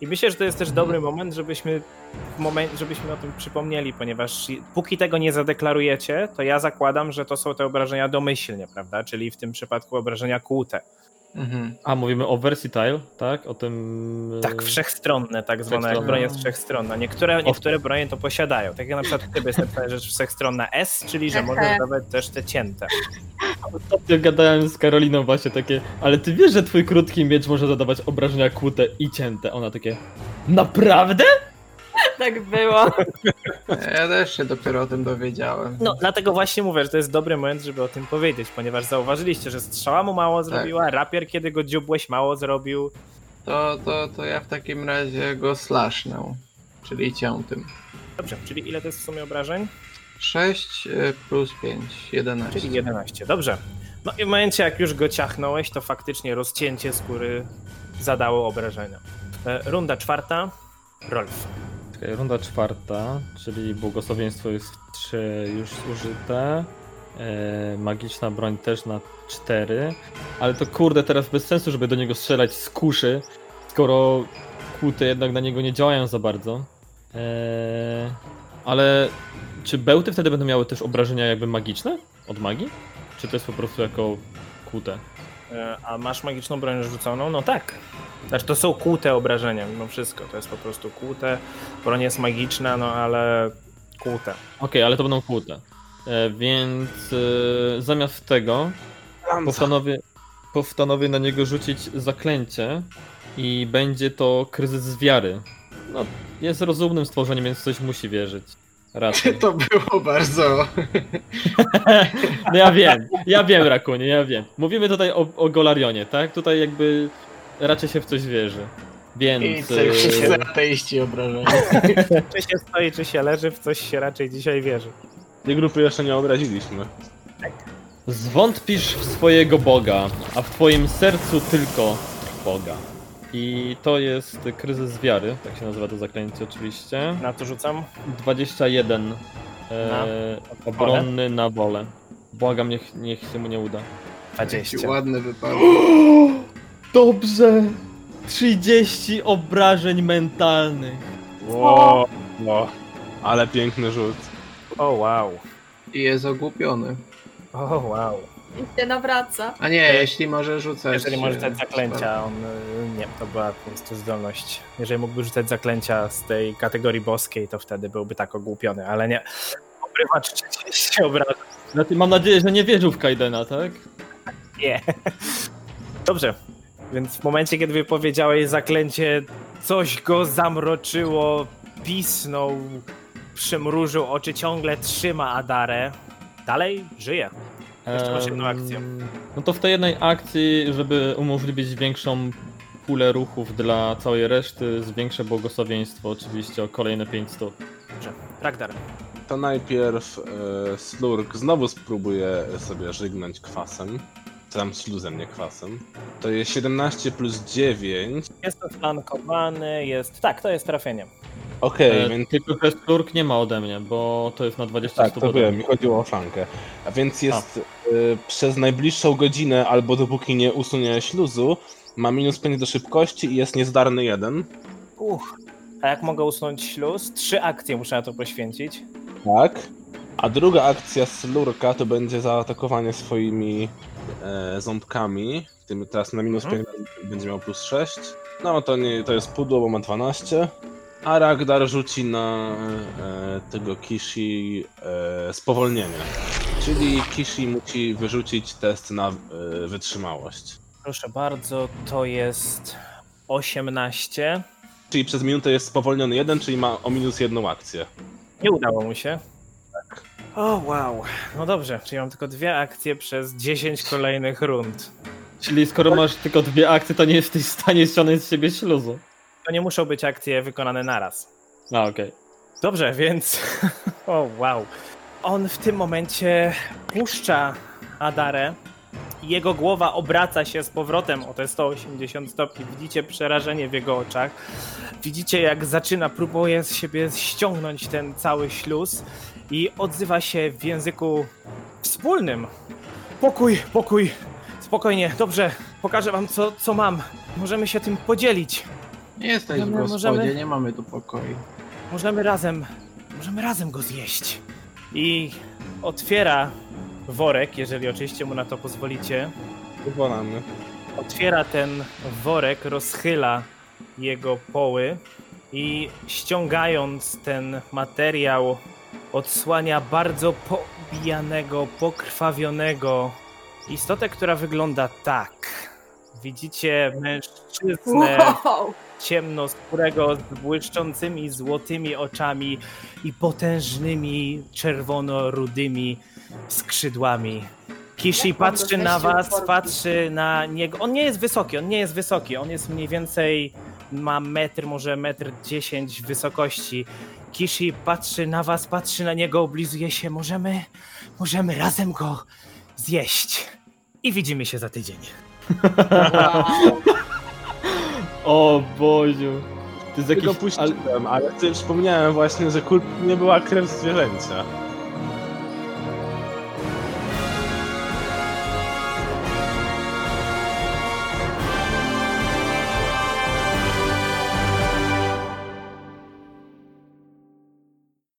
[SPEAKER 1] I myślę, że to jest też dobry moment, żebyśmy, w momen- żebyśmy o tym przypomnieli, ponieważ i- póki tego nie zadeklarujecie, to ja zakładam, że to są te obrażenia domyślnie, prawda? Czyli w tym przypadku obrażenia kłute.
[SPEAKER 3] Mhm.
[SPEAKER 2] A, mówimy o versatile, tak? O tym... e,
[SPEAKER 1] Tak, wszechstronne, tak zwane, jak
[SPEAKER 2] Wszechstronne.
[SPEAKER 1] broń jest wszechstronna. Niektóre, niektóre bronie to posiadają. Tak jak na przykład w ciebie jest napisane, że wszechstronna S, czyli że można zadawać też te cięte.
[SPEAKER 2] e, Ostatnio gadałem z Karoliną właśnie takie, ale ty wiesz, że twój krótki miecz może zadawać obrażenia kłute i cięte. Ona takie, naprawdę?
[SPEAKER 7] tak było.
[SPEAKER 3] E, Ja też się dopiero o tym dowiedziałem.
[SPEAKER 1] No, dlatego właśnie mówię, że to jest dobry moment, żeby o tym powiedzieć, ponieważ zauważyliście, że strzała mu mało zrobiła, rapier, kiedy go dziubłeś, mało zrobił.
[SPEAKER 3] To, to, to ja w takim razie go slashnę, czyli ciętym.
[SPEAKER 1] Dobrze, czyli ile to jest w sumie obrażeń?
[SPEAKER 3] 6 y, plus 5, 11.
[SPEAKER 1] Czyli 11, dobrze. No i w momencie, jak już go ciachnąłeś, to faktycznie rozcięcie skóry zadało obrażenia. E, Runda czwarta. Rolf.
[SPEAKER 2] Czekaj, runda czwarta, czyli błogosławieństwo jest w 3 już zużyte. E, magiczna broń też na 4. Ale to kurde, teraz bez sensu, żeby do niego strzelać z kuszy, skoro kłute jednak na niego nie działają za bardzo. E, ale czy bełty wtedy będą miały też obrażenia jakby magiczne od magii? Czy to jest po prostu jako kłute?
[SPEAKER 1] E, A masz magiczną broń rzuconą? No tak. Znaczy to są kłute obrażenia mimo wszystko. To jest po prostu kłute. Broń jest magiczna, no ale kłute.
[SPEAKER 2] Okej, ale to będą kłute. E, więc e, zamiast tego
[SPEAKER 3] Tak.
[SPEAKER 2] postanowię, postanowię na niego rzucić zaklęcie i będzie to kryzys wiary. No, jest rozumnym stworzeniem, więc coś musi wierzyć. Raczej.
[SPEAKER 3] To było bardzo.
[SPEAKER 2] No ja wiem, ja wiem, Rakunie, ja wiem. Mówimy tutaj o, o Golarionie, tak? Tutaj jakby raczej się w coś wierzy.
[SPEAKER 3] I
[SPEAKER 2] Więc... e,
[SPEAKER 3] wszyscy ateiści obrażeni.
[SPEAKER 1] Czy się stoi, czy się leży, w coś się raczej dzisiaj wierzy.
[SPEAKER 5] Tej grupy jeszcze nie obraziliśmy.
[SPEAKER 2] Zwątpisz w swojego Boga, a w twoim sercu tylko Boga. I to jest kryzys wiary, tak się nazywa to zaklęcie oczywiście.
[SPEAKER 1] Na to rzucam.
[SPEAKER 2] 21
[SPEAKER 1] Na
[SPEAKER 2] e, obronny na wolę. Błagam, niech, niech się mu nie uda.
[SPEAKER 1] 20.
[SPEAKER 3] Ładny wypadek.
[SPEAKER 2] Dobrze! 30 obrażeń mentalnych.
[SPEAKER 1] Wow.
[SPEAKER 5] No. Ale piękny rzut.
[SPEAKER 1] O wow.
[SPEAKER 3] I jest ogłupiony.
[SPEAKER 1] O wow.
[SPEAKER 7] I się nawraca.
[SPEAKER 3] A nie, jeśli może rzucać.
[SPEAKER 1] Jeżeli może rzucać
[SPEAKER 3] e,
[SPEAKER 1] zaklęcia, on... y, Nie, to była po prostu zdolność. Jeżeli mógłby rzucać zaklęcia z tej kategorii boskiej, to wtedy byłby tak ogłupiony, ale nie. Obrywa 30 obrażeń.
[SPEAKER 2] Znaczy, mam nadzieję, że nie wierzył w Kaidena, tak?
[SPEAKER 1] Nie. Dobrze. Więc w momencie, kiedy wypowiedziałeś zaklęcie, coś go zamroczyło, pisnął, przymrużył oczy, ciągle trzyma Adarę. Dalej żyje. Jeszcze masz jedną
[SPEAKER 2] Em,
[SPEAKER 1] akcję.
[SPEAKER 2] No to w tej jednej akcji, żeby umożliwić większą pulę ruchów dla całej reszty, zwiększę błogosławieństwo oczywiście o kolejne 5 stóp.
[SPEAKER 1] Ragdar.
[SPEAKER 5] To najpierw e, Slurk znowu spróbuje sobie żegnać kwasem. Czy tam śluzem, nie kwasem. To jest 17 plus 9.
[SPEAKER 1] Jest to flankowany, jest... Tak, to jest trafienie.
[SPEAKER 5] Okej,
[SPEAKER 2] E,
[SPEAKER 5] więc
[SPEAKER 2] Tylko, że Sturk nie ma ode mnie, bo to jest na 20
[SPEAKER 5] tak,
[SPEAKER 2] stóp
[SPEAKER 5] to
[SPEAKER 2] ode
[SPEAKER 5] wiem,
[SPEAKER 2] mnie.
[SPEAKER 5] mi chodziło o flankę. A więc jest e, przez najbliższą godzinę, albo dopóki nie usunie śluzu, ma minus 5 do szybkości i jest niezdarny 1.
[SPEAKER 1] Uch. A jak mogę usunąć śluz? Trzy akcje muszę na to poświęcić.
[SPEAKER 5] Tak. A druga akcja Slurka to będzie zaatakowanie swoimi e, ząbkami. W Tym teraz na minus
[SPEAKER 1] Mhm.
[SPEAKER 5] 5 będzie miał plus 6. No to nie, to jest pudło, bo ma 12. A Ragdar rzuci na e, tego Kishi e, spowolnienie. Czyli Kishi musi wyrzucić test na e, wytrzymałość.
[SPEAKER 1] Proszę bardzo, to jest 18.
[SPEAKER 5] Czyli przez minutę jest spowolniony jeden, czyli ma o minus jedną akcję.
[SPEAKER 1] Nie udało mu się. Tak. O, wow. No dobrze, czyli mam tylko dwie akcje przez 10 kolejnych rund.
[SPEAKER 2] Czyli skoro masz tylko dwie akcje, to nie jesteś w stanie ściągnąć z siebie śluzu.
[SPEAKER 1] To nie muszą być akcje wykonane naraz.
[SPEAKER 2] A, okej.
[SPEAKER 1] Dobrze, więc. O, wow. On w tym momencie puszcza Adarę. Jego głowa obraca się z powrotem o te 180 stopni. Widzicie przerażenie w jego oczach. Widzicie, jak zaczyna, próbuje z siebie ściągnąć ten cały śluz i odzywa się w języku wspólnym. Pokój, pokój, spokojnie, dobrze, pokażę wam, co, co mam. Możemy się tym podzielić.
[SPEAKER 3] Nie jesteś w
[SPEAKER 1] Możemy-
[SPEAKER 3] gospodzie,
[SPEAKER 1] możemy-
[SPEAKER 3] nie mamy tu pokoi.
[SPEAKER 1] Możemy razem, możemy razem go zjeść. I otwiera worek, jeżeli oczywiście mu na to pozwolicie.
[SPEAKER 5] Uwolamy.
[SPEAKER 1] Otwiera ten worek, rozchyla jego poły i ściągając ten materiał odsłania bardzo pobijanego, pokrwawionego istotę, która wygląda tak. Widzicie mężczyznę
[SPEAKER 7] Wow!
[SPEAKER 1] ciemnoskórego z błyszczącymi złotymi oczami i potężnymi czerwono-rudymi skrzydłami. Kishi
[SPEAKER 4] Jak on
[SPEAKER 1] patrzy na
[SPEAKER 4] rozmieścił
[SPEAKER 1] was,
[SPEAKER 4] korki?
[SPEAKER 1] patrzy na niego. On nie jest wysoki, on nie jest wysoki, on jest mniej więcej, ma metr, może metr dziesięć wysokości. Kishi patrzy na was, patrzy na niego, oblizuje się. Możemy, możemy razem go zjeść. I widzimy się za tydzień.
[SPEAKER 4] Wow.
[SPEAKER 2] O Boziu. To jest
[SPEAKER 5] Tylko
[SPEAKER 2] jakiś...
[SPEAKER 5] puściłem, ale ty wspomniałem właśnie, że kult nie była krew zwierzęcia.